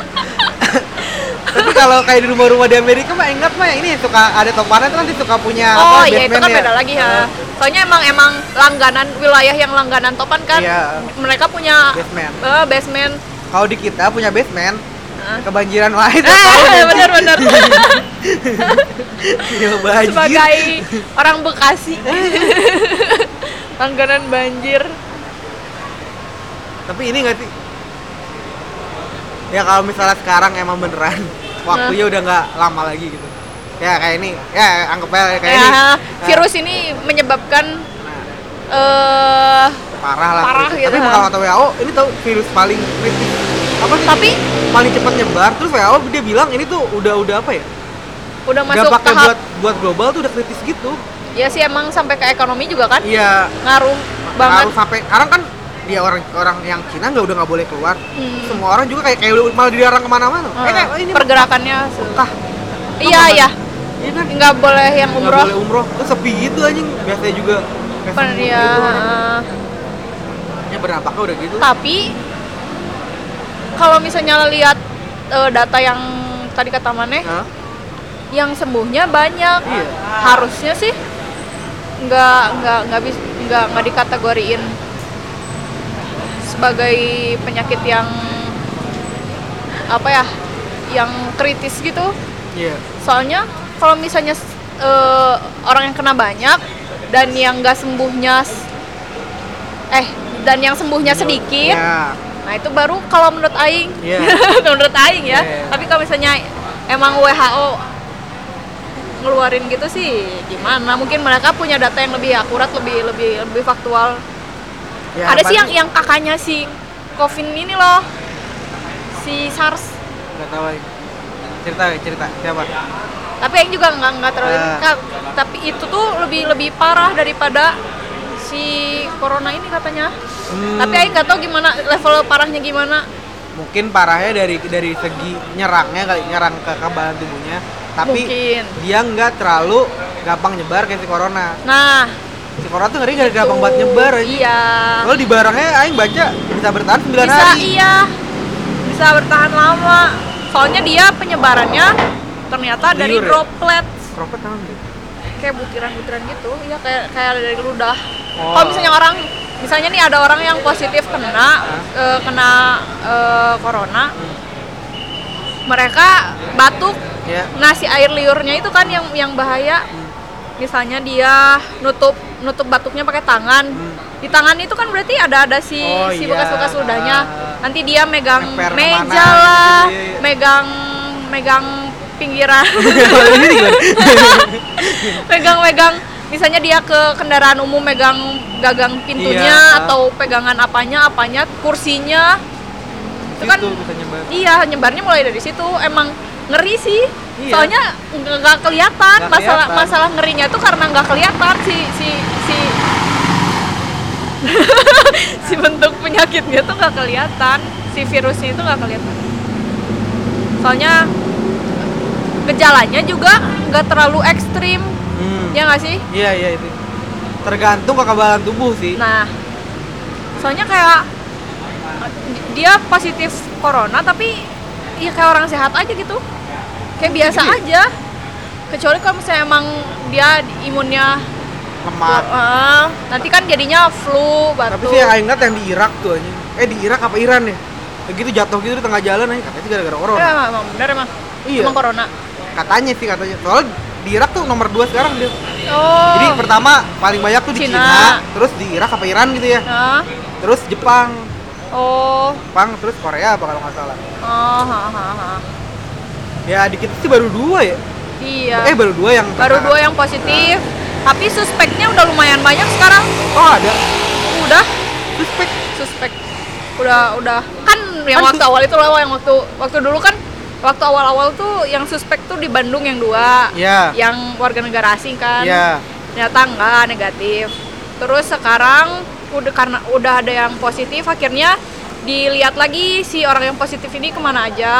Speaker 2: tapi kalau kayak di rumah-rumah di Amerika mah ingat mah ini suka ada topannya tuh nanti suka punya
Speaker 1: oh
Speaker 2: apa,
Speaker 1: iya itu
Speaker 2: Batman
Speaker 1: kan beda lagi ya. Soalnya emang emang langganan wilayah yang langganan topan kan
Speaker 2: Iya.
Speaker 1: mereka punya
Speaker 2: Batman.
Speaker 1: eh, basement.
Speaker 2: Kalau di kita punya basement,
Speaker 1: Hah?
Speaker 2: kebanjiran wae tuh.
Speaker 1: Eh, bener bener
Speaker 2: Ya, banjir.
Speaker 1: sebagai orang Bekasi langganan banjir
Speaker 2: Tapi ini nggak sih? Ya kalau misalnya sekarang emang beneran waktunya udah nggak lama lagi gitu. Ya kayak ini, ya anggap aja kayak ini.
Speaker 1: ya,
Speaker 2: Nah,
Speaker 1: virus ini menyebabkan
Speaker 2: nah,
Speaker 1: eh
Speaker 2: parah lah.
Speaker 1: Parah
Speaker 2: virus.
Speaker 1: gitu.
Speaker 2: Tapi kalau kata WHO, ini tuh virus paling kritis. Apa sih?
Speaker 1: tapi
Speaker 2: paling cepat nyebar terus WHO dia bilang ini tuh udah udah apa ya
Speaker 1: udah masuk
Speaker 2: dampaknya
Speaker 1: tahap
Speaker 2: buat buat global tuh udah kritis gitu
Speaker 1: ya sih emang sampai ke ekonomi juga kan
Speaker 2: iya
Speaker 1: ngaruh banget
Speaker 2: harus sampai sekarang kan dia orang orang yang Cina nggak udah nggak boleh keluar
Speaker 1: Hmm. Ah.
Speaker 2: semua orang juga kayak kayak udah malah dilarang kemana-mana eh, kayak, oh, ini
Speaker 1: pergerakannya se-
Speaker 2: mentah
Speaker 1: iya
Speaker 2: makan.
Speaker 1: iya
Speaker 2: iya kan
Speaker 1: nggak boleh yang
Speaker 2: nggak
Speaker 1: umroh
Speaker 2: boleh umroh terus sepi gitu anjing biasanya juga kayak
Speaker 1: Pen-
Speaker 2: sepi
Speaker 1: ya,
Speaker 2: gitu kan.
Speaker 1: eh,
Speaker 2: ya berdampaknya udah gitu
Speaker 1: tapi kalau misalnya lihat eh, data yang tadi kata Maneh
Speaker 2: Hah?
Speaker 1: yang sembuhnya banyak
Speaker 2: Iya.
Speaker 1: harusnya sih nggak nggak nggak bisa nggak nggak dikategoriin sebagai penyakit yang apa ya yang kritis gitu
Speaker 2: Iya.
Speaker 1: soalnya kalau misalnya eh, orang yang kena banyak dan yang nggak sembuhnya s- eh dan yang sembuhnya sedikit
Speaker 2: Ya.
Speaker 1: Nah itu baru kalau menurut Aing,
Speaker 2: Iya.
Speaker 1: menurut Aing ya.
Speaker 2: Iya.
Speaker 1: Tapi kalau misalnya emang WHO ngeluarin gitu sih gimana? Mungkin mereka punya data yang lebih akurat, lebih lebih lebih faktual.
Speaker 2: Ya,
Speaker 1: Ada
Speaker 2: apa
Speaker 1: sih yang yang kakaknya si Covid ini loh, si SARS.
Speaker 2: Nggak tahu. Aing. Cerita, cerita. Siapa?
Speaker 1: Tapi Aing juga nggak nggak terlalu.
Speaker 2: Ah.
Speaker 1: nggak- tapi itu tuh lebih lebih parah daripada si Corona ini katanya.
Speaker 2: Hmm.
Speaker 1: Tapi Aing nggak tahu gimana level parahnya gimana.
Speaker 2: mungkin parahnya dari dari segi nyerangnya kali nyerang ke kekebalan tubuhnya tapi
Speaker 1: Mungkin.
Speaker 2: dia nggak terlalu gampang nyebar kayak si corona
Speaker 1: Nah,
Speaker 2: si corona tuh ngeri gak gampang banget nyebar aja Oh,
Speaker 1: Iya.
Speaker 2: kalau di barangnya aing baca bisa bertahan 9
Speaker 1: bisa
Speaker 2: hari
Speaker 1: iya bisa bertahan lama soalnya dia penyebarannya ternyata dari
Speaker 2: Liur ya?
Speaker 1: droplet
Speaker 2: Keropet tangan deh.
Speaker 1: kayak butiran-butiran gitu ya kayak kayak dari ludah
Speaker 2: Oh.
Speaker 1: kalau misalnya orang misalnya nih ada orang yang positif kena eh, kena eh, corona mereka batuk
Speaker 2: ya
Speaker 1: nah si air liurnya itu kan yang yang bahaya misalnya dia nutup nutup batuknya pakai tangan
Speaker 2: Hmm.
Speaker 1: di tangan itu kan berarti ada ada si
Speaker 2: Oh,
Speaker 1: si
Speaker 2: iya.
Speaker 1: bekas-bekas ludahnya nanti dia megang
Speaker 2: Ngeper
Speaker 1: meja
Speaker 2: kemana,
Speaker 1: lah
Speaker 2: gitu, iya, iya.
Speaker 1: megang megang pinggiran
Speaker 2: ini gimana?
Speaker 1: megang-megang misalnya dia ke kendaraan umum megang gagang pintunya
Speaker 2: Iya.
Speaker 1: atau pegangan apanya apanya kursinya itu kan
Speaker 2: Situ gitu bisa nyebar
Speaker 1: Iya, nyebarnya mulai dari situ. Emang ngeri sih.
Speaker 2: Iya.
Speaker 1: Soalnya nggak nggak kelihatan.
Speaker 2: Nggak
Speaker 1: masalah
Speaker 2: kelihatan.
Speaker 1: masalah ngerinya tuh karena nggak kelihatan si si si si bentuk penyakitnya tuh nggak kelihatan. Si virusnya itu nggak kelihatan. Soalnya gejalanya juga nggak terlalu ekstrim,
Speaker 2: Hmm.
Speaker 1: ya nggak sih?
Speaker 2: iya iya itu tergantung kekebalan tubuh sih
Speaker 1: Nah, soalnya kayak dia positif corona tapi ya kayak orang sehat aja gitu. Kayak biasa
Speaker 2: Gini.
Speaker 1: aja. Kecuali kalau misalnya emang dia imunnya
Speaker 2: lemah
Speaker 1: Eh, nanti kan jadinya flu,
Speaker 2: Ah. tapi
Speaker 1: batuk.
Speaker 2: sih ya, yang aing lihat yang di Irak tuh aja eh di Irak apa Iran ya begitu jatuh gitu di tengah jalan aja katanya sih gara-gara corona
Speaker 1: Ya, emang, emang bener emang.
Speaker 2: Iya.
Speaker 1: Emang corona.
Speaker 2: katanya sih katanya soalnya di Irak tuh nomor dua sekarang dia
Speaker 1: Oh.
Speaker 2: jadi pertama paling banyak tuh di
Speaker 1: Cina.
Speaker 2: Cina. terus di Irak apa Iran gitu ya
Speaker 1: Hah?
Speaker 2: terus Jepang
Speaker 1: oh.
Speaker 2: Jepang terus Korea apa kalau nggak salah
Speaker 1: Oh, ha, ha, ha.
Speaker 2: ya di kita sih baru dua ya
Speaker 1: Iya.
Speaker 2: eh baru dua yang
Speaker 1: Baru dua yang positif. Tapi suspeknya udah lumayan banyak sekarang.
Speaker 2: oh ada
Speaker 1: Udah
Speaker 2: suspek
Speaker 1: suspek udah udah kan yang
Speaker 2: Kan
Speaker 1: waktu awal itu loh yang waktu waktu dulu kan waktu awal-awal tuh yang suspek tuh di Bandung yang dua
Speaker 2: Iya.
Speaker 1: yang warga negara asing kan
Speaker 2: Iya.
Speaker 1: ternyata enggak negatif terus sekarang udah karena udah ada yang positif akhirnya dilihat lagi si orang yang positif ini kemana
Speaker 2: Ah.
Speaker 1: aja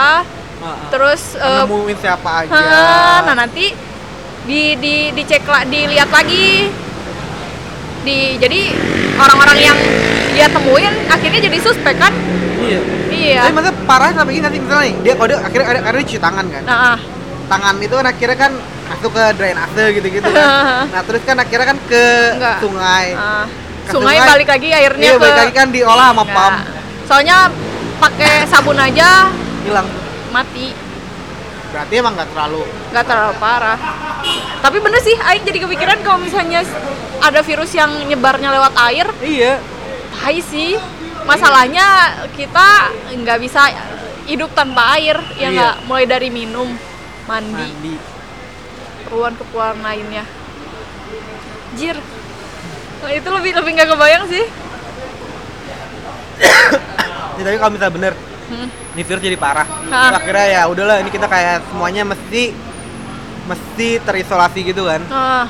Speaker 1: terus eh,
Speaker 2: nemuin siapa aja Ya.
Speaker 1: Hah, nah nanti di di dicek la- dilihat lagi di jadi orang-orang yang dia temuin akhirnya jadi suspek kan
Speaker 2: iya
Speaker 1: iya
Speaker 2: tapi maksudnya parah sampai ini nanti misalnya nih, dia kode akhirnya akhirnya, akhirnya cuci tangan kan
Speaker 1: nah ah.
Speaker 2: tangan itu kan akhirnya kan masuk ke drainase gitu-gitu kan nah terus kan akhirnya kan ke
Speaker 1: Nggak.
Speaker 2: sungai
Speaker 1: Ah.
Speaker 2: Ke
Speaker 1: sungai
Speaker 2: sungai.
Speaker 1: balik lagi airnya
Speaker 2: Eh, iya
Speaker 1: ke
Speaker 2: balik lagi kan diolah sama
Speaker 1: Nggak.
Speaker 2: pam
Speaker 1: soalnya pakai sabun aja
Speaker 2: hilang
Speaker 1: mati
Speaker 2: berarti emang nggak terlalu
Speaker 1: nggak terlalu parah tapi bener sih Aing jadi kepikiran kalau misalnya ada virus yang nyebarnya lewat air
Speaker 2: iya
Speaker 1: Hai sih, masalahnya kita nggak bisa hidup tanpa air, ya
Speaker 2: Iya.
Speaker 1: nggak. Mulai dari minum, mandi,
Speaker 2: mandi
Speaker 1: keperluan-keperluan lainnya. Jir, Nah, itu lebih lebih nggak kebayang sih.
Speaker 2: Ya, tapi kalau misalnya bener
Speaker 1: Hmm.
Speaker 2: ini virus jadi parah
Speaker 1: Hah.
Speaker 2: akhirnya ya udahlah ini kita kayak semuanya mesti mesti terisolasi gitu kan
Speaker 1: Ah,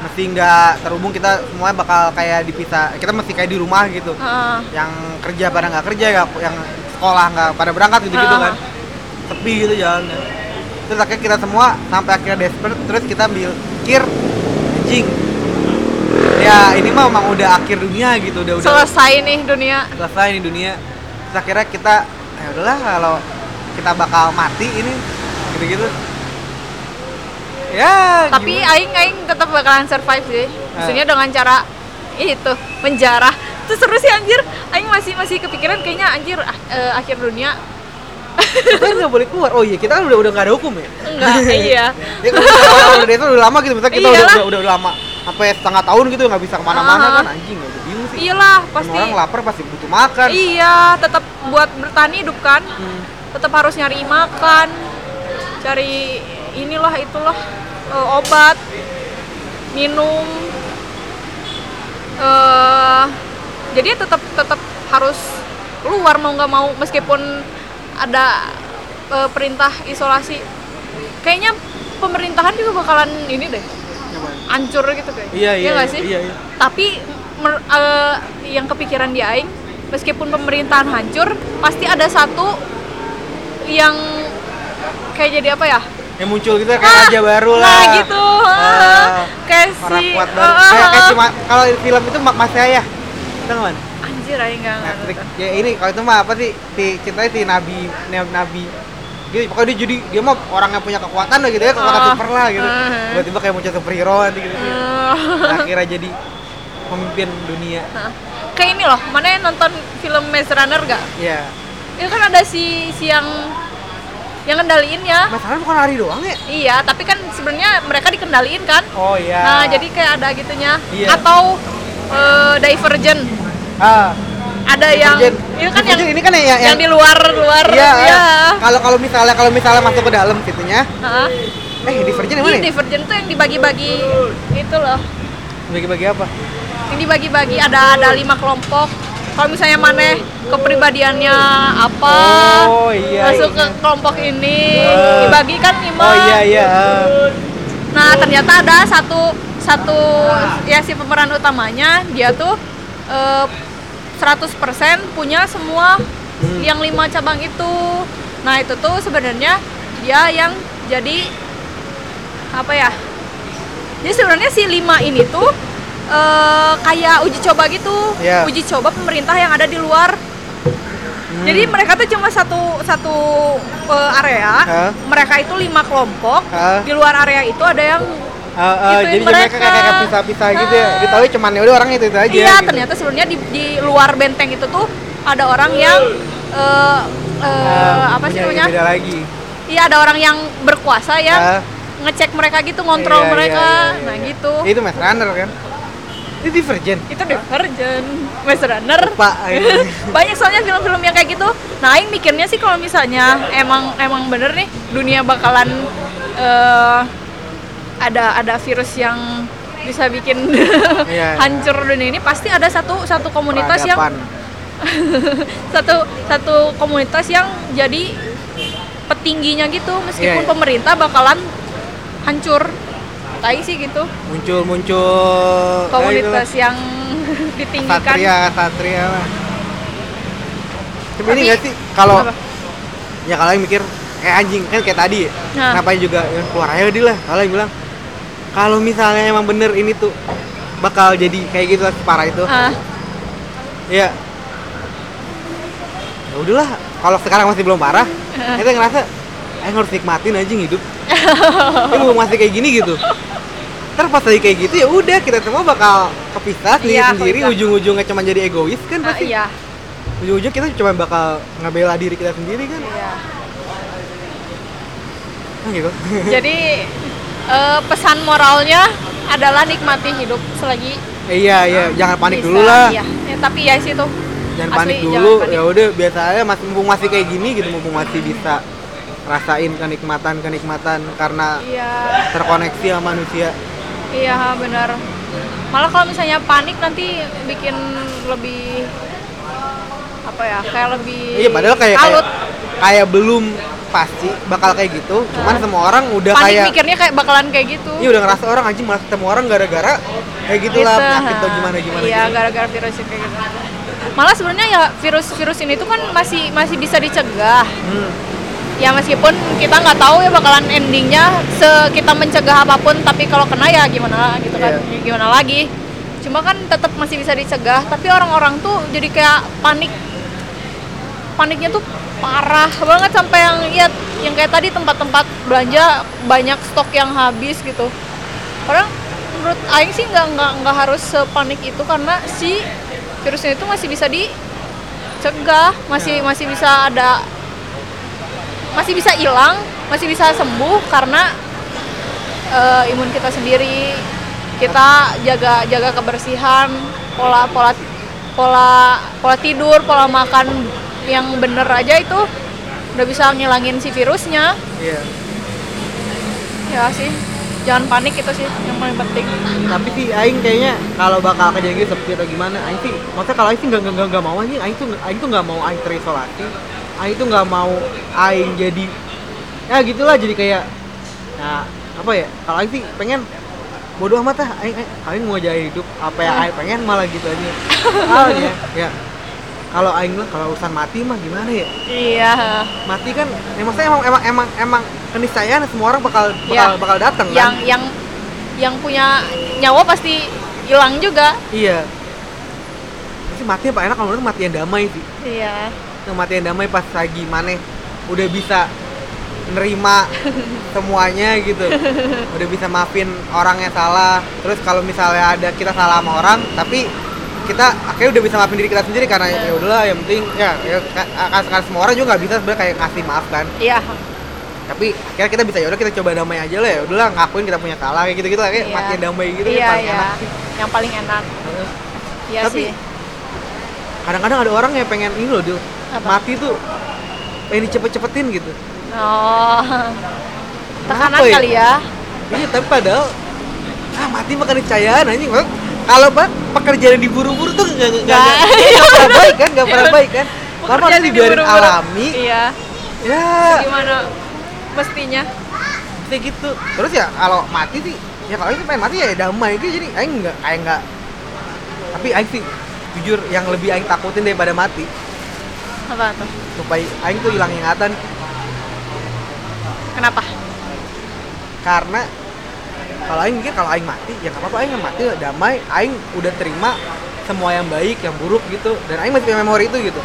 Speaker 2: mesti nggak terhubung kita semua bakal kayak dipisah kita mesti kayak di rumah gitu
Speaker 1: ah.
Speaker 2: yang kerja pada nggak kerja ya yang sekolah nggak pada berangkat gitu gitu
Speaker 1: Ah.
Speaker 2: kan sepi gitu jalannya terus akhirnya kita semua sampai akhirnya desperate terus kita mikir anjing ya ini mah emang udah akhir dunia gitu udah udah
Speaker 1: selesai nih dunia.
Speaker 2: selesai nih dunia terus akhirnya kita ya udahlah kalau kita bakal mati ini gitu-gitu ya
Speaker 1: Tapi
Speaker 2: gimana?
Speaker 1: Aing Aing tetap bakalan survive sih.
Speaker 2: Eh.
Speaker 1: Maksudnya dengan cara itu menjarah. Itu seru sih anjir. Aing masih masih kepikiran kayaknya anjir ah, eh, akhir dunia
Speaker 2: kan nggak boleh keluar oh iya kita kan udah udah nggak ada hukum ya
Speaker 1: enggak iya
Speaker 2: ya kan kita kalau udah desa udah lama gitu misalnya kita udah,
Speaker 1: Iyalah.
Speaker 2: udah udah udah lama sampai setengah tahun gitu nggak bisa kemana-mana
Speaker 1: Aha.
Speaker 2: kan anjing nggak bingung sih
Speaker 1: iyalah
Speaker 2: Emang
Speaker 1: Iya, pasti
Speaker 2: orang lapar pasti butuh makan
Speaker 1: iya tetap buat bertahan hidup kan
Speaker 2: Hmm.
Speaker 1: tetap harus nyari makan cari inilah itulah eh, obat minum eh jadi tetap tetap harus keluar mau nggak mau meskipun ada eh, perintah isolasi kayaknya pemerintahan juga bakalan ini deh hancur gitu kayaknya
Speaker 2: Iya, iya,
Speaker 1: nggak
Speaker 2: iya,
Speaker 1: sih
Speaker 2: iya, iya.
Speaker 1: tapi mer- eh, yang kepikiran di Aing meskipun pemerintahan hancur pasti ada satu yang kayak jadi apa ya
Speaker 2: yang muncul gitu kayak raja baru lah
Speaker 1: nah gitu ah,
Speaker 2: Ah,
Speaker 1: kayak
Speaker 2: orang
Speaker 1: si
Speaker 2: kuat baru
Speaker 1: ah,
Speaker 2: kayak, kayak
Speaker 1: ah,
Speaker 2: si Ma- kalau di film itu Ma- Mas Yaya Tahu kan
Speaker 1: anjir Aing nggak
Speaker 2: Nah,
Speaker 1: ngerti.
Speaker 2: trik- ya ini kalau itu mah apa sih si ceritanya si nabi na- nabi dia pokoknya dia jadi dia mah orang yang punya kekuatan lah gitu ya kekuatan
Speaker 1: Ah.
Speaker 2: super lah gitu
Speaker 1: Ah.
Speaker 2: tiba-tiba kayak muncul superhero nanti gitu
Speaker 1: Eh,
Speaker 2: akhirnya jadi pemimpin dunia
Speaker 1: nah. kayak ini loh mana yang nonton film Maze Runner gak?
Speaker 2: ya
Speaker 1: itu kan ada si si yang yang kendaliin ya
Speaker 2: masalah bukan lari doang ya
Speaker 1: iya tapi kan sebenarnya mereka dikendaliin kan
Speaker 2: oh iya
Speaker 1: Nah, jadi kayak ada gitunya.
Speaker 2: Iya.
Speaker 1: Atau eh, Divergent.
Speaker 2: ah
Speaker 1: Ada yang
Speaker 2: Virgin.
Speaker 1: itu kan yang,
Speaker 2: Virgin
Speaker 1: yang
Speaker 2: ini kan ya yang,
Speaker 1: di luar luar
Speaker 2: iya kalau kalau misalnya kalau misalnya masuk ke dalam situnya
Speaker 1: Heeh.
Speaker 2: eh di Virgin yang
Speaker 1: Ini
Speaker 2: mana ya?
Speaker 1: Divergent tuh yang dibagi-bagi itu loh.
Speaker 2: bagi-bagi apa
Speaker 1: Yang dibagi-bagi ada ada lima kelompok. Kalau misalnya maneh kepribadiannya apa?
Speaker 2: Oh, iya,
Speaker 1: Masuk ke
Speaker 2: iya.
Speaker 1: kelompok ini,
Speaker 2: Eh.
Speaker 1: dibagi kan lima.
Speaker 2: oh iya iya
Speaker 1: Nah, ternyata ada satu satu ya si pemeran utamanya dia tuh eh, 100% punya semua
Speaker 2: Hmm.
Speaker 1: yang lima cabang itu. Nah, itu tuh sebenarnya dia yang jadi apa ya? Jadi sebenarnya si lima ini tuh eh, kayak uji coba gitu,
Speaker 2: Iya.
Speaker 1: uji coba pemerintah yang ada di luar. Jadi mereka tuh cuma satu satu eh, area.
Speaker 2: Hah?
Speaker 1: Mereka itu lima kelompok.
Speaker 2: Hah?
Speaker 1: Di luar area itu ada yang
Speaker 2: Ah, ah,
Speaker 1: Gituin
Speaker 2: jadi mereka
Speaker 1: mereka.
Speaker 2: kayak kayak pisah-pisah gitu ya.
Speaker 1: Ah.
Speaker 2: Ditahui cuman ya udah orang itu itu aja.
Speaker 1: Iya,
Speaker 2: gitu.
Speaker 1: ternyata sebenarnya di, di luar benteng itu tuh ada orang yang eh, eh,
Speaker 2: Ah,
Speaker 1: apa sih
Speaker 2: punya yang
Speaker 1: namanya?
Speaker 2: Beda lagi.
Speaker 1: Iya, ada orang yang berkuasa yang
Speaker 2: Ah.
Speaker 1: ngecek mereka gitu, ngontrol
Speaker 2: Iya, iya,
Speaker 1: mereka.
Speaker 2: iya, iya,
Speaker 1: nah,
Speaker 2: iya.
Speaker 1: gitu.
Speaker 2: Itu Mas Runner kan. Itu Divergent.
Speaker 1: Itu Divergent, Maze Runner.
Speaker 2: Pak. gitu.
Speaker 1: Banyak soalnya film-film yang kayak gitu. Nah, aing mikirnya sih kalau misalnya emang emang bener nih dunia bakalan eh, ada ada virus yang bisa bikin
Speaker 2: Iya.
Speaker 1: hancur dunia ini pasti ada satu satu komunitas yang
Speaker 2: Peradaban.
Speaker 1: satu satu komunitas yang jadi petingginya gitu meskipun
Speaker 2: Iya, iya.
Speaker 1: pemerintah bakalan hancur tai sih gitu
Speaker 2: Iya, muncul-muncul ya,
Speaker 1: komunitas yang
Speaker 2: itulah.
Speaker 1: ditinggikan
Speaker 2: satria, satria lah. Cuma ini
Speaker 1: Tapi-
Speaker 2: nggak sih kalau
Speaker 1: Apa?
Speaker 2: ya kalau yang mikir eh anjing kan kayak tadi ya.
Speaker 1: Nah.
Speaker 2: Kenapa juga yang keluar aja dia lah. Kalau yang bilang kalau misalnya emang bener ini tuh bakal jadi kayak gitu lah parah itu.
Speaker 1: Ah,
Speaker 2: Iya. Ya udahlah, kalau sekarang masih belum parah,
Speaker 1: Ah.
Speaker 2: kita ngerasa eh harus nikmatin aja hidup. Ini mau masih kayak gini gitu. Ntar pas lagi kayak gitu ya udah kita semua bakal kepisah sendiri
Speaker 1: Iya,
Speaker 2: sendiri
Speaker 1: kepisah.
Speaker 2: ujung-ujungnya cuma jadi egois kan
Speaker 1: ah,
Speaker 2: pasti.
Speaker 1: iya
Speaker 2: Ujung-ujung kita cuma bakal ngebela diri kita sendiri kan.
Speaker 1: iya
Speaker 2: Kan gitu.
Speaker 1: jadi eh, pesan moralnya adalah nikmati hidup selagi
Speaker 2: iya, iya, jangan panik
Speaker 1: bisa.
Speaker 2: dulu lah.
Speaker 1: Iya. ya, tapi ya sih tuh
Speaker 2: jangan
Speaker 1: Asli,
Speaker 2: panik
Speaker 1: jangan
Speaker 2: dulu
Speaker 1: panik.
Speaker 2: ya udah biasa aja mas mumpung masih kayak gini gitu mumpung masih bisa rasain kenikmatan kenikmatan karena
Speaker 1: iya
Speaker 2: terkoneksi sama manusia
Speaker 1: iya benar malah kalau misalnya panik nanti bikin lebih apa ya kayak lebih
Speaker 2: iya padahal kayak kayak,
Speaker 1: kalut.
Speaker 2: kayak belum pasti bakal kayak gitu cuman
Speaker 1: Nah.
Speaker 2: semua orang udah
Speaker 1: panik
Speaker 2: kayak
Speaker 1: mikirnya kayak bakalan kayak gitu.
Speaker 2: ini udah ngerasa orang anjing malah ketemu orang gara-gara kayak gitulah
Speaker 1: Gitu,
Speaker 2: penyakit atau
Speaker 1: ha.
Speaker 2: gimana gimana
Speaker 1: Iya,
Speaker 2: gitu.
Speaker 1: gara-gara virus yang kayak gitu. Malah sebenarnya ya virus-virus ini tuh kan masih masih bisa dicegah.
Speaker 2: Hmm.
Speaker 1: Ya meskipun kita nggak tahu ya bakalan endingnya se kita mencegah apapun, tapi kalau kena ya gimana gitu kan,
Speaker 2: Iya.
Speaker 1: Ya gimana lagi. Cuma kan tetap masih bisa dicegah, tapi orang-orang tuh jadi kayak panik. Paniknya tuh parah banget sampai yang ya yang kayak tadi tempat-tempat belanja banyak stok yang habis gitu. orang menurut Aing sih nggak nggak nggak harus sepanik itu karena si virusnya itu masih bisa dicegah masih masih bisa ada masih bisa hilang masih bisa sembuh karena eh, imun kita sendiri kita jaga jaga kebersihan pola pola pola pola tidur pola makan yang bener aja itu udah bisa ngilangin si virusnya
Speaker 2: Iya.
Speaker 1: ya sih jangan panik itu sih yang paling penting
Speaker 2: Tapi sih aing kayaknya kalau bakal kejadian gitu seperti atau gimana, aing sih maksudnya kalau aing sih nggak nggak- nggak nggak mau anjing, aing tuh aing tuh nggak mau aing terisolasi. Aing tuh nggak mau aing jadi ya gitulah jadi kayak nah apa ya? Kalau aing sih pengen bodoh amat lah aing aing, aing mau jadi hidup apa yang aing pengen malah gitu aja. Ah ya. ya. Kalau aing lah kalau urusan mati mah gimana ya?
Speaker 1: iya
Speaker 2: Mati kan ya maksudnya emang emang emang emang keniscayaan semua orang bakal bakal
Speaker 1: Iya.
Speaker 2: bakal datang
Speaker 1: yang
Speaker 2: kan.
Speaker 1: yang yang punya nyawa pasti hilang juga
Speaker 2: Iya. Pasti mati apa enak kalau menurut mati yang damai sih.
Speaker 1: iya
Speaker 2: Yang mati yang damai pas lagi maneh udah bisa nerima semuanya gitu. Udah bisa maafin orang yang salah. Terus kalau misalnya ada kita salah sama orang, tapi kita akhirnya udah bisa maafin diri kita sendiri karena
Speaker 1: Iya.
Speaker 2: ya udahlah yang penting ya, ya ka- ka- ka- semua orang juga nggak bisa sebenarnya kayak kasih maaf kan
Speaker 1: iya
Speaker 2: tapi akhirnya kita bisa ya udah kita coba damai aja lah ya udahlah ngakuin kita punya salah kayak gitu gitu kayak
Speaker 1: Iya.
Speaker 2: mati yang damai gitu ya
Speaker 1: iya
Speaker 2: paling
Speaker 1: iya
Speaker 2: enak sih.
Speaker 1: yang paling enak
Speaker 2: Heeh.
Speaker 1: iya
Speaker 2: Tapi-
Speaker 1: sih
Speaker 2: kadang-kadang ada orang yang pengen ini loh Dil.
Speaker 1: Apa?
Speaker 2: mati tuh pengen dicepet-cepetin gitu
Speaker 1: oh tekanan
Speaker 2: Kenapa ya?
Speaker 1: kali ya
Speaker 2: iya tapi padahal ah mati mah keniscayaan anjing Maksud, kalau pak pekerjaan yang diburu-buru tuh nggak nggak nggak
Speaker 1: Nggak.
Speaker 2: nggak- nggak pernah baik kan nggak pernah
Speaker 1: Iya.
Speaker 2: baik kan karena
Speaker 1: Pekerjaan
Speaker 2: harus dibiarin
Speaker 1: diburu-buru.
Speaker 2: alami
Speaker 1: iya
Speaker 2: ya
Speaker 1: gimana mestinya
Speaker 2: kayak gitu terus ya kalau mati sih ya kalau itu pengen mati ya damai gitu jadi aing nggak aing nggak tapi aing sih jujur yang lebih aing takutin daripada mati
Speaker 1: apa tuh
Speaker 2: supaya aing tuh hilang ingatan
Speaker 1: kenapa
Speaker 2: karena kalau aing mikir kalau aing mati ya nggak apa-apa aing mati damai aing udah terima semua yang baik yang buruk gitu dan aing masih punya memori itu gitu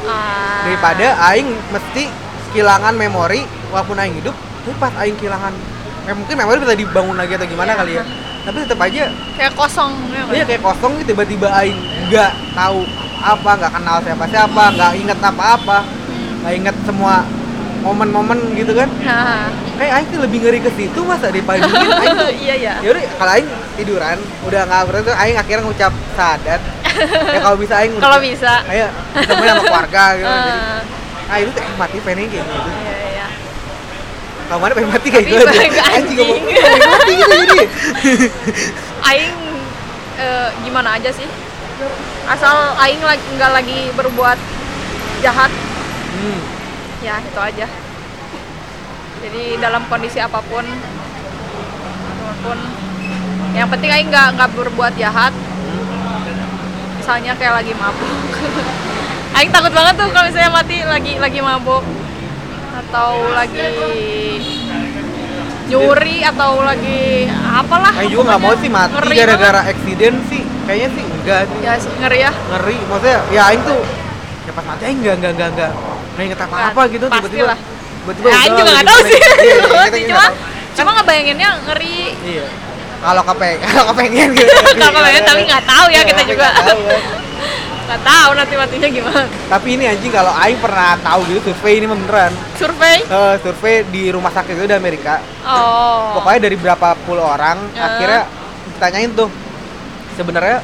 Speaker 1: Ah.
Speaker 2: daripada aing mesti kehilangan memori walaupun aing hidup tapi pas aing kehilangan eh, mungkin memori bisa dibangun lagi atau gimana
Speaker 1: Iya.
Speaker 2: kali ya tapi tetap aja
Speaker 1: kayak kosong ya kan?
Speaker 2: dia kayak kosong gitu, tiba-tiba aing nggak tahu apa nggak kenal siapa siapa nggak inget apa-apa
Speaker 1: Hmm.
Speaker 2: nggak inget semua momen-momen gitu kan
Speaker 1: Nah.
Speaker 2: kayak aing tuh lebih ngeri ke situ masa daripada dingin aing tuh
Speaker 1: iya ya
Speaker 2: ya udah kalau aing tiduran udah nggak berarti tuh aing akhirnya ngucap sadat ya kalau bisa aing
Speaker 1: kalau bisa
Speaker 2: ayo ketemu sama keluarga gitu jadi
Speaker 1: Eh,
Speaker 2: ah itu teh mati pengen kayak gitu
Speaker 1: iya iya
Speaker 2: kalau mana pengen mati kayak
Speaker 1: Tapi
Speaker 2: gitu
Speaker 1: bangga,
Speaker 2: anjing ngomong
Speaker 1: anjing.
Speaker 2: pengen mati gitu jadi
Speaker 1: aing eh, gimana aja sih asal aing lagi nggak lagi berbuat jahat
Speaker 2: hmm.
Speaker 1: ya itu aja jadi dalam kondisi apapun apapun yang penting aing nggak nggak berbuat jahat misalnya kayak lagi mabuk aing takut banget tuh kalau misalnya mati lagi lagi mabuk atau lagi nyuri atau lagi apalah
Speaker 2: aing juga nggak mau sih mati
Speaker 1: Ngeri
Speaker 2: gara-gara eksiden sih kayaknya sih enggak sih
Speaker 1: ya sih, ngeri ya
Speaker 2: ngeri maksudnya ya aing tuh ya pas mati aing nggak nggak nggak nggak nggak inget apa apa gitu
Speaker 1: Pasti
Speaker 2: tiba-tiba
Speaker 1: lah.
Speaker 2: tiba-tiba
Speaker 1: Nah, Ya, aing
Speaker 2: udah
Speaker 1: juga nggak
Speaker 2: lah, gitu.
Speaker 1: tahu sih
Speaker 2: Iya, iya, kita juga
Speaker 1: cuma
Speaker 2: nggak tahu.
Speaker 1: cuma ngebayanginnya ngeri
Speaker 2: iya kalau kepengen kalau kepengen gitu
Speaker 1: Kalau kepengen, tapi nggak tahu ya,
Speaker 2: Iya,
Speaker 1: kita
Speaker 2: tapi
Speaker 1: juga.
Speaker 2: nggak tahu ya.
Speaker 1: nggak tahu nanti matinya gimana
Speaker 2: tapi ini anjing kalau Aing pernah tahu gitu survei ini mah beneran
Speaker 1: survei
Speaker 2: Eh, survei di rumah sakit itu di Amerika
Speaker 1: oh
Speaker 2: pokoknya dari berapa puluh orang
Speaker 1: Eh.
Speaker 2: akhirnya ditanyain tuh sebenarnya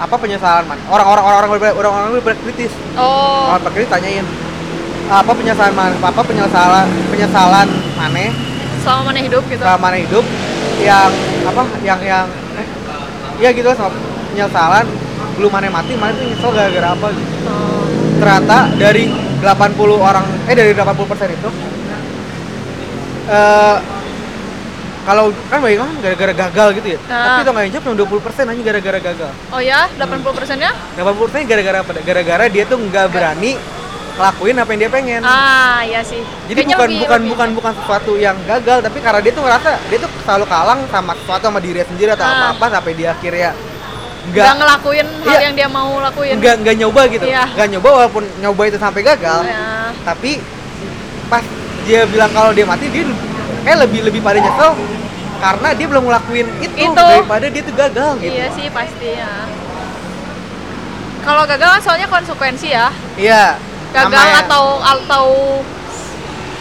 Speaker 2: apa penyesalan man orang-orang orang-orang berbe- orang-orang berkritis
Speaker 1: oh
Speaker 2: orang berkritis tanyain apa penyesalan man apa penyesalan penyesalan maneh
Speaker 1: selama mana hidup gitu
Speaker 2: selama mana hidup yang apa yang yang eh, ya gitu lah sama penyesalan belum mana mati mana tuh nyesel gara-gara apa gitu
Speaker 1: Oh.
Speaker 2: ternyata dari 80 orang eh dari 80 itu eh kalau kan banyak kan gara-gara gagal gitu ya
Speaker 1: Ah.
Speaker 2: tapi itu nggak jawab yang 20 persen hanya gara-gara gagal
Speaker 1: oh ya 80 persennya
Speaker 2: 80 gara-gara apa gara-gara dia tuh nggak berani ngelakuin apa yang dia pengen
Speaker 1: ah ya sih
Speaker 2: jadi
Speaker 1: Kayaknya
Speaker 2: bukan
Speaker 1: lebih-
Speaker 2: bukan
Speaker 1: lebih-
Speaker 2: bukan bukan sesuatu yang gagal tapi karena dia tuh ngerasa dia tuh selalu kalang sama sesuatu sama diri sendiri atau
Speaker 1: Ah.
Speaker 2: apa-apa sampai dia akhirnya
Speaker 1: nggak
Speaker 2: nggak
Speaker 1: ngelakuin hal
Speaker 2: Iya.
Speaker 1: yang dia mau lakuin
Speaker 2: nggak nggak nyoba gitu
Speaker 1: Iya.
Speaker 2: nggak nyoba walaupun nyoba itu sampai gagal
Speaker 1: Ya.
Speaker 2: tapi pas dia bilang kalau dia mati dia kayak lebih lebih pada nyesel karena dia belum ngelakuin itu,
Speaker 1: Itu.
Speaker 2: daripada dia tuh gagal gitu
Speaker 1: iya sih pasti ya kalau gagal kan soalnya konsekuensi ya
Speaker 2: iya
Speaker 1: gagal
Speaker 2: Sama-
Speaker 1: atau atau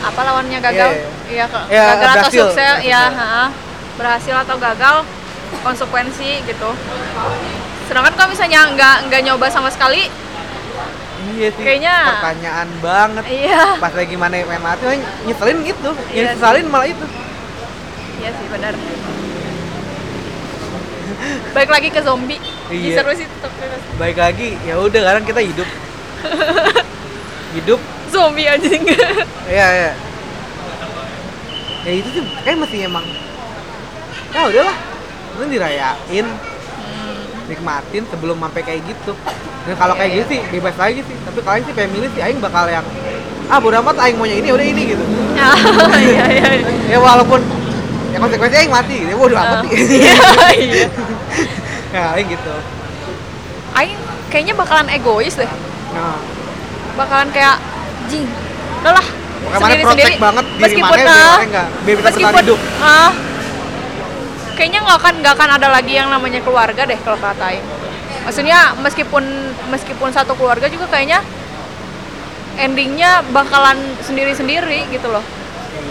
Speaker 1: apa lawannya gagal
Speaker 2: Iya,
Speaker 1: iya ke-
Speaker 2: Iya,
Speaker 1: gagal atau
Speaker 2: berhasil.
Speaker 1: sukses
Speaker 2: Berhasil.
Speaker 1: ya ha. berhasil atau gagal konsekuensi gitu sedangkan kalau misalnya nggak nggak nyoba sama sekali
Speaker 2: Iya sih.
Speaker 1: Kayaknya-
Speaker 2: pertanyaan banget.
Speaker 1: iya
Speaker 2: Pas lagi mana main mati paling nyeselin itu.
Speaker 1: Iya
Speaker 2: Yang
Speaker 1: sih.
Speaker 2: nyeselin malah itu.
Speaker 1: iya sih benar balik lagi ke zombie
Speaker 2: Iya.
Speaker 1: seru sih tetap bebas.
Speaker 2: Baik lagi, ya udah sekarang kita hidup. hidup
Speaker 1: zombie anjing
Speaker 2: Iya, iya. Ya itu sih kayak mesti emang. Ya udahlah. Lu dirayain, nikmatin sebelum sampai kayak gitu. Dan kalau
Speaker 1: Hmm. Iya,
Speaker 2: kayak gitu sih bebas lagi sih. Tapi kalau aing sih feminis sih aing bakal yang ah bodo amat aing maunya ini udah ini gitu.
Speaker 1: Ah, iya iya iya.
Speaker 2: Ya walaupun ya konsekuensinya aing mati gitu. Ya bodo amat
Speaker 1: Ah,
Speaker 2: sih.
Speaker 1: iya.
Speaker 2: ya aing gitu.
Speaker 1: Aing kayaknya bakalan egois deh.
Speaker 2: Nah,
Speaker 1: Bakalan kayak jing. Udah lah.
Speaker 2: Makanya mana protek banget diri
Speaker 1: meskipun
Speaker 2: mana, biar
Speaker 1: ah,
Speaker 2: orang nggak- biar bisa bertahan
Speaker 1: meskipun
Speaker 2: hidup.
Speaker 1: ah, kayaknya nggak akan nggak akan ada lagi yang namanya keluarga deh kalau kata Aing. Maksudnya meskipun meskipun satu keluarga juga kayaknya endingnya bakalan sendiri-sendiri gitu loh.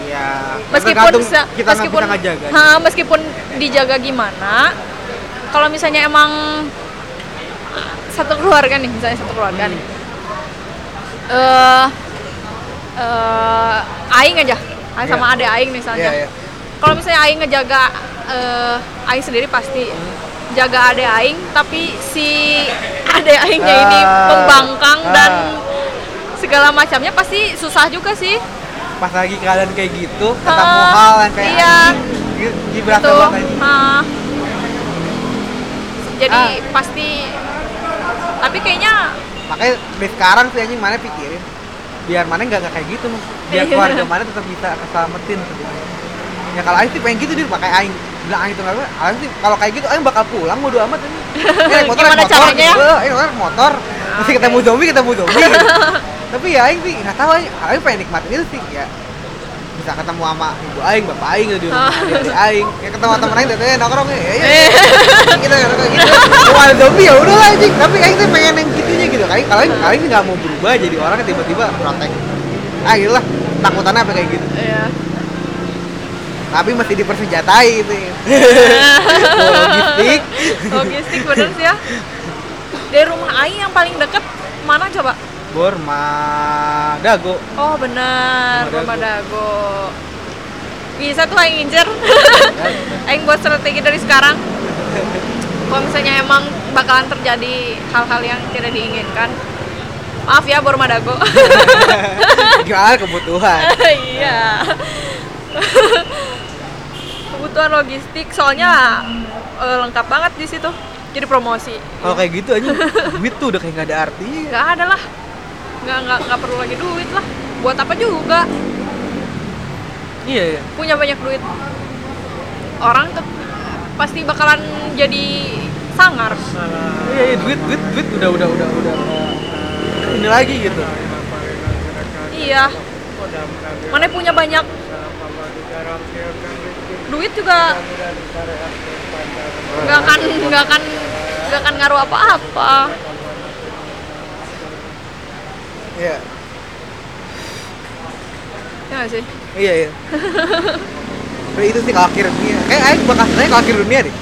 Speaker 2: iya.
Speaker 1: meskipun
Speaker 2: Tergantung
Speaker 1: se-
Speaker 2: kita nggak gitu.
Speaker 1: meskipun
Speaker 2: bisa ngejaga.
Speaker 1: Ha, meskipun dijaga gimana kalau misalnya emang satu keluarga nih misalnya satu keluarga
Speaker 2: Hmm.
Speaker 1: nih eh eh, aing aja aing sama
Speaker 2: Iya.
Speaker 1: ade aing misalnya
Speaker 2: Iya, iya.
Speaker 1: kalau misalnya aing ngejaga eh aing sendiri pasti
Speaker 2: Hmm.
Speaker 1: jaga ade aing tapi si ade aingnya ini
Speaker 2: Ah,
Speaker 1: pembangkang dan
Speaker 2: ah.
Speaker 1: segala macamnya pasti susah juga sih
Speaker 2: pas lagi keadaan kayak gitu ketemu
Speaker 1: Ah,
Speaker 2: hal yang kayak
Speaker 1: iya.
Speaker 2: anjing, jadi berasa
Speaker 1: Tuh,
Speaker 2: banget anjing.
Speaker 1: ah. jadi
Speaker 2: Ah.
Speaker 1: pasti tapi kayaknya
Speaker 2: makanya dari sekarang sih anjing mana pikirin biar mana nggak nggak kayak gitu Mas. biar
Speaker 1: Iya.
Speaker 2: keluarga mana tetap bisa keselamatin sebenarnya. ya kalau Aing sih pengen gitu dia pakai Aing bilang Aing itu nggak apa Aing sih kalau kayak gitu Aing bakal pulang bodo amat ini Eh, naik motor,
Speaker 1: Gimana
Speaker 2: naik motor,
Speaker 1: caranya ya?
Speaker 2: gitu. Eh, naik motor, naik motor Mesti
Speaker 1: oke.
Speaker 2: ketemu zombie, ketemu zombie gitu. Tapi ya Aing sih, nggak tahu Aing, Aing pengen nikmatin itu sih ya bisa ketemu sama ibu Aing, bapak Aing, gitu, di rumah adik Aing ya ketemu sama temen Aing, datanya nongkrong ya, ya, ya. kita nongkrong gitu kalau ada zombie ya udah lah anjing tapi Aing tuh pengen yang gitunya gitu Aing, kalau Aing, Aing nggak mau berubah jadi orang yang tiba-tiba protek ah gitu lah, takutannya apa kayak gitu
Speaker 1: ya
Speaker 2: tapi mesti dipersenjatai itu logistik
Speaker 1: logistik bener sih ya dari rumah Aing yang paling deket mana coba
Speaker 2: Borma Dago
Speaker 1: oh bener
Speaker 2: Rumah
Speaker 1: rumah dago bisa tuh Aing incer Aing buat strategi dari sekarang kalau misalnya emang bakalan terjadi hal-hal yang tidak diinginkan maaf ya Borma Dago
Speaker 2: gimana kebutuhan
Speaker 1: iya kebutuhan logistik soalnya eh, lengkap banget di situ jadi promosi
Speaker 2: kalau kayak gitu aja duit tuh udah kayak nggak ada artinya
Speaker 1: nggak ada lah nggak nggak nggak perlu lagi duit lah buat apa juga
Speaker 2: iya iya
Speaker 1: punya banyak duit orang tuh pasti bakalan jadi sangar
Speaker 2: iya iya, duit duit duit udah udah udah udah ini lagi gitu
Speaker 1: iya mana punya banyak duit juga nggak akan nggak akan nggak akan ngaruh apa-apa
Speaker 2: iya
Speaker 1: ya nggak sih
Speaker 2: iya iya Tapi itu sih kalau akhir dunia kayak Aing bakal sebenarnya kalau akhir dunia deh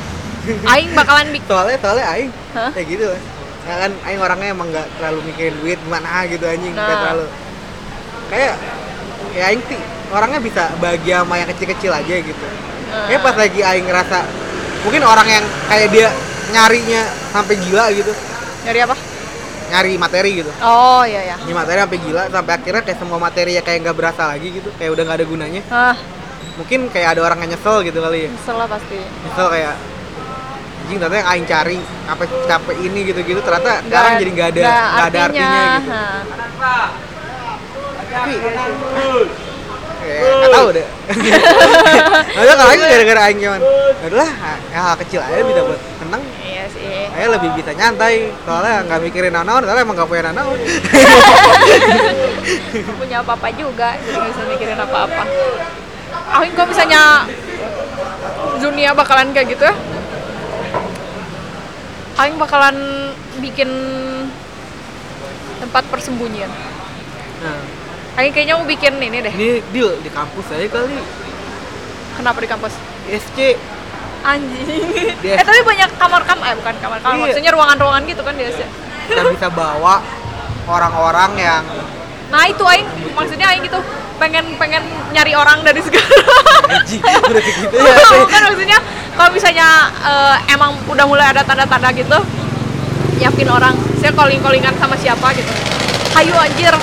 Speaker 1: Aing bakalan bikin
Speaker 2: soalnya soalnya Aing
Speaker 1: Hah?
Speaker 2: kayak gitu lah Ya kan Aing orangnya emang nggak terlalu mikirin duit gimana gitu anjing nggak
Speaker 1: Nah.
Speaker 2: terlalu kayak ya Aing sih orangnya bisa bahagia sama yang kecil-kecil aja gitu
Speaker 1: Nah.
Speaker 2: kayak pas lagi Aing ngerasa mungkin orang yang kayak dia nyarinya sampai gila gitu
Speaker 1: nyari apa
Speaker 2: nyari materi gitu
Speaker 1: oh iya ya
Speaker 2: ini materi sampai gila sampai akhirnya kayak semua materi ya kayak nggak berasa lagi gitu kayak udah nggak ada gunanya
Speaker 1: ah
Speaker 2: mungkin kayak ada orang yang nyesel gitu kali ya
Speaker 1: nyesel lah pasti
Speaker 2: nyesel kayak anjing ternyata yang aing cari apa capek ini gitu-gitu ternyata sekarang jadi nggak ada
Speaker 1: nggak
Speaker 2: nggak ada artinya gitu
Speaker 1: Hah.
Speaker 2: tapi ya, nggak tahu deh Maksudnya kalau aing gara-gara aing cuman adalah hal kecil aja bisa buat seneng
Speaker 1: iya sih
Speaker 2: saya lebih bisa nyantai soalnya nggak mikirin nanawan soalnya emang nggak punya nanawan
Speaker 1: Nggak punya apa-apa juga jadi nggak bisa mikirin apa-apa Aing kok misalnya dunia bakalan kayak gitu ya Aing bakalan bikin tempat persembunyian
Speaker 2: nah,
Speaker 1: Aing kayaknya mau bikin ini deh.
Speaker 2: Ini deal di kampus saya kali.
Speaker 1: Kenapa di kampus?
Speaker 2: SC
Speaker 1: Anjing.
Speaker 2: Di-
Speaker 1: Eh tapi banyak kamar kamar, eh bukan kamar kamar,
Speaker 2: Iya.
Speaker 1: maksudnya ruangan-ruangan gitu kan biasanya.
Speaker 2: kita bisa bawa orang-orang yang
Speaker 1: Nah itu Aing, maksudnya Aing gitu pengen pengen nyari orang dari segala.
Speaker 2: Anjing, udah kayak gitu ya.
Speaker 1: bukan maksudnya kalau misalnya eh, emang udah mulai ada tanda-tanda gitu yakin orang saya calling callingan sama siapa gitu hayu anjir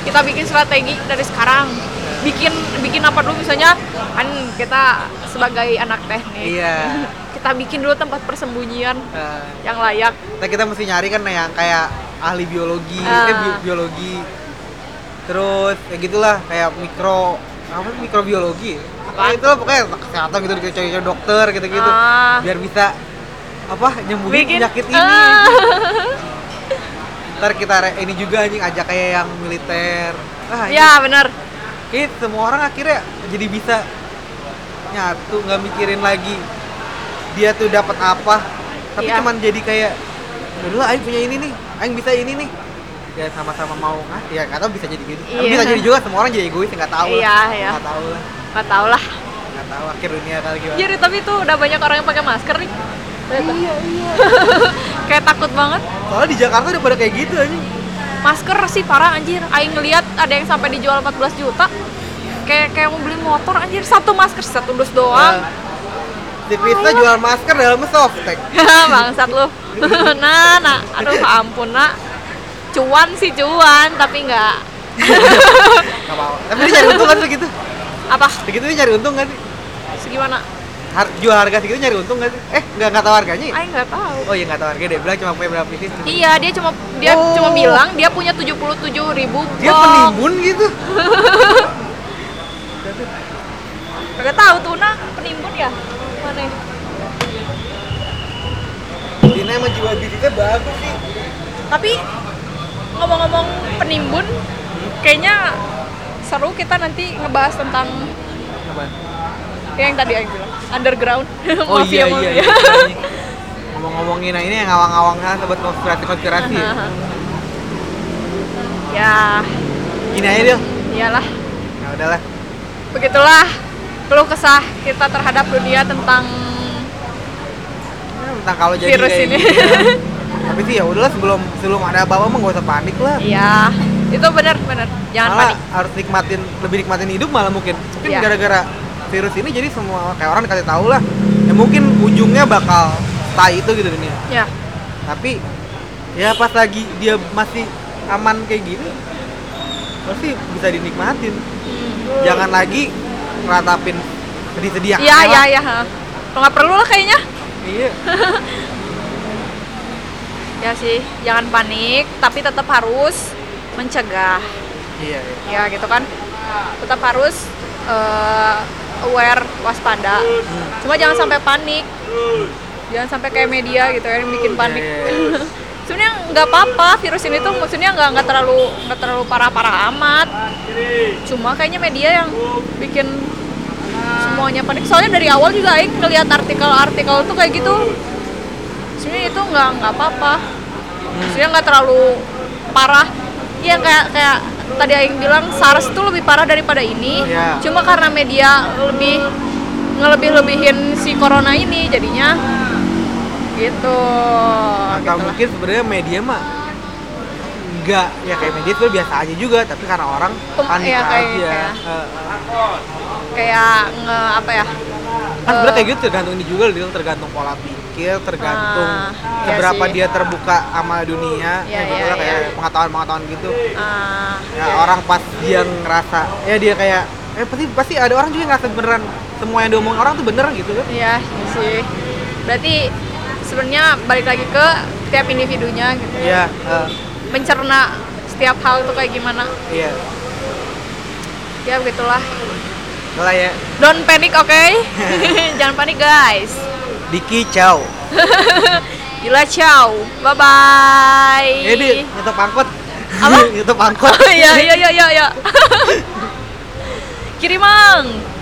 Speaker 1: kita bikin strategi dari sekarang bikin bikin apa dulu misalnya kan kita sebagai anak teknik
Speaker 2: Iya.
Speaker 1: kita bikin dulu tempat persembunyian
Speaker 2: Eh,
Speaker 1: yang layak
Speaker 2: Nah, kita mesti nyari kan yang kayak ahli biologi,
Speaker 1: Ah.
Speaker 2: eh, bi- biologi. Terus ya gitulah kayak mikro apa sih, mikrobiologi. Nah, itu pokoknya kesehatan gitu dicari-cari dokter gitu-gitu.
Speaker 1: Ah.
Speaker 2: Biar bisa apa nyembuhin penyakit ini.
Speaker 1: Ah.
Speaker 2: Ntar kita re- ini juga anjing ajak kayak yang militer. Ah,
Speaker 1: ya benar
Speaker 2: Kayak semua orang akhirnya jadi bisa nyatu, nggak mikirin lagi dia tuh dapat apa. Tapi
Speaker 1: Iya.
Speaker 2: cuman jadi kayak, dulu Aing punya ini nih, Aing bisa ini nih. Ya sama-sama mau nggak? Ya nggak tahu bisa jadi gitu. Tapi
Speaker 1: Iya.
Speaker 2: Bisa jadi juga semua orang jadi egois ya nggak tahu. lah.
Speaker 1: Iya, iya.
Speaker 2: Nggak tahu lah,
Speaker 1: nggak tau lah
Speaker 2: nggak tahu akhir dunia kali gimana.
Speaker 1: jadi tapi tuh udah banyak orang yang pakai masker nih iya iya kayak takut banget
Speaker 2: Soalnya di Jakarta udah pada kayak gitu aja.
Speaker 1: masker sih parah anjir aing ngeliat ada yang sampai dijual 14 juta kayak kayak mau beli motor anjir satu masker satu dus doang
Speaker 2: Tipista Ya,
Speaker 1: Iya.
Speaker 2: jual masker dalamnya softtek.
Speaker 1: bangsat lu nah nah aduh ampun nak cuan sih cuan tapi nggak
Speaker 2: Gak apa-apa. Tapi dia nyari untung kan segitu.
Speaker 1: apa
Speaker 2: Segitu dia nyari untung kan sih?
Speaker 1: segimana
Speaker 2: Har- jual harga segitu nyari untung kan sih? Eh, nggak nggak tahu harganya. ya?
Speaker 1: aing nggak tahu
Speaker 2: Oh iya nggak tahu harganya dia bilang cuma punya berapa pieces.
Speaker 1: iya dia cuma dia
Speaker 2: Oh.
Speaker 1: cuma bilang dia punya 77.000 ribu
Speaker 2: Dia penimbun gitu.
Speaker 1: nggak tahu tuh nah penimbun ya mana ya?
Speaker 2: Dina emang jiwa dirinya bagus sih.
Speaker 1: Tapi ngomong-ngomong penimbun, kayaknya seru kita nanti ngebahas tentang
Speaker 2: Apaan?
Speaker 1: yang tadi yang bilang underground
Speaker 2: Oh iya
Speaker 1: mafia
Speaker 2: iya.
Speaker 1: mafia.
Speaker 2: iya. Ngomong-ngomongin nah ini yang ngawang-ngawang kan sobat konspirasi-konspirasi. ya.
Speaker 1: ya,
Speaker 2: Gini aja dia.
Speaker 1: iyalah.
Speaker 2: Ya udahlah.
Speaker 1: Begitulah keluh kesah kita terhadap dunia tentang
Speaker 2: Ya, Tentang kalau jadi
Speaker 1: Virus
Speaker 2: kayak
Speaker 1: ini.
Speaker 2: gini, ya. Tapi sih ya udahlah sebelum sebelum ada apa-apa mah gak usah panik lah.
Speaker 1: ya itu benar benar jangan
Speaker 2: malah
Speaker 1: panik
Speaker 2: harus nikmatin lebih nikmatin hidup malah mungkin. Mungkin
Speaker 1: Iya.
Speaker 2: gara-gara virus ini jadi semua kayak orang dikasih tahu lah. Ya mungkin ujungnya bakal tai itu gitu dunia.
Speaker 1: ya
Speaker 2: tapi ya pas lagi dia masih aman kayak gini pasti bisa dinikmatin jangan lagi ngeratapin sedih-sedih yang
Speaker 1: ya
Speaker 2: aneh
Speaker 1: ya
Speaker 2: lah.
Speaker 1: ya ha. Kalau nggak perlu lah kayaknya
Speaker 2: iya
Speaker 1: ya sih jangan panik tapi tetap harus mencegah
Speaker 2: iya iya.
Speaker 1: ya gitu kan tetap harus eh, aware waspada cuma jangan sampai panik jangan sampai kayak media gitu ya yang bikin panik
Speaker 2: Iya, iya, iya.
Speaker 1: sebenarnya nggak apa-apa virus ini tuh maksudnya nggak nggak terlalu nggak terlalu parah-parah amat cuma kayaknya media yang bikin semuanya panik soalnya dari awal juga Aing ngelihat artikel-artikel tuh kayak gitu sebenarnya itu nggak nggak apa-apa maksudnya nggak terlalu parah ya kayak kayak tadi Aing bilang SARS tuh lebih parah daripada ini
Speaker 2: Iya.
Speaker 1: cuma karena media lebih ngelebih-lebihin si corona ini jadinya gitu
Speaker 2: atau
Speaker 1: gitu lah.
Speaker 2: mungkin sebenarnya media mah enggak ya kayak media itu biasa aja juga tapi karena orang
Speaker 1: Pem-
Speaker 2: panik
Speaker 1: iya, kayak-
Speaker 2: aja
Speaker 1: kayak-
Speaker 2: Eh,
Speaker 1: kayak nge, apa ya Eh,
Speaker 2: kan sebenarnya kayak gitu tergantung ini juga Lil, tergantung pola pikir tergantung
Speaker 1: Ah, iya
Speaker 2: seberapa
Speaker 1: sih.
Speaker 2: dia terbuka sama dunia
Speaker 1: Iya,
Speaker 2: ya,
Speaker 1: iya,
Speaker 2: maksudnya kayak
Speaker 1: iya.
Speaker 2: pengetahuan-pengetahuan gitu
Speaker 1: ah,
Speaker 2: ya, orang pas dia ngerasa ya dia kayak eh pasti pasti ada orang juga yang ngerasa beneran semua yang diomongin orang tuh bener gitu kan
Speaker 1: Iya iya sih. Berarti sebenarnya balik lagi ke tiap individunya gitu.
Speaker 2: iya eh,
Speaker 1: Mencerna setiap hal itu kayak gimana.
Speaker 2: iya
Speaker 1: Ya begitulah.
Speaker 2: Mulai ya
Speaker 1: Don't panic, oke? Jangan panik, guys.
Speaker 2: Diki ciao
Speaker 1: Gila, ciao. Bye bye.
Speaker 2: ya di nyetok angkot
Speaker 1: Apa? Oh, iya,
Speaker 2: nyetok angkot
Speaker 1: ya ya ya ya ya. Kirimang.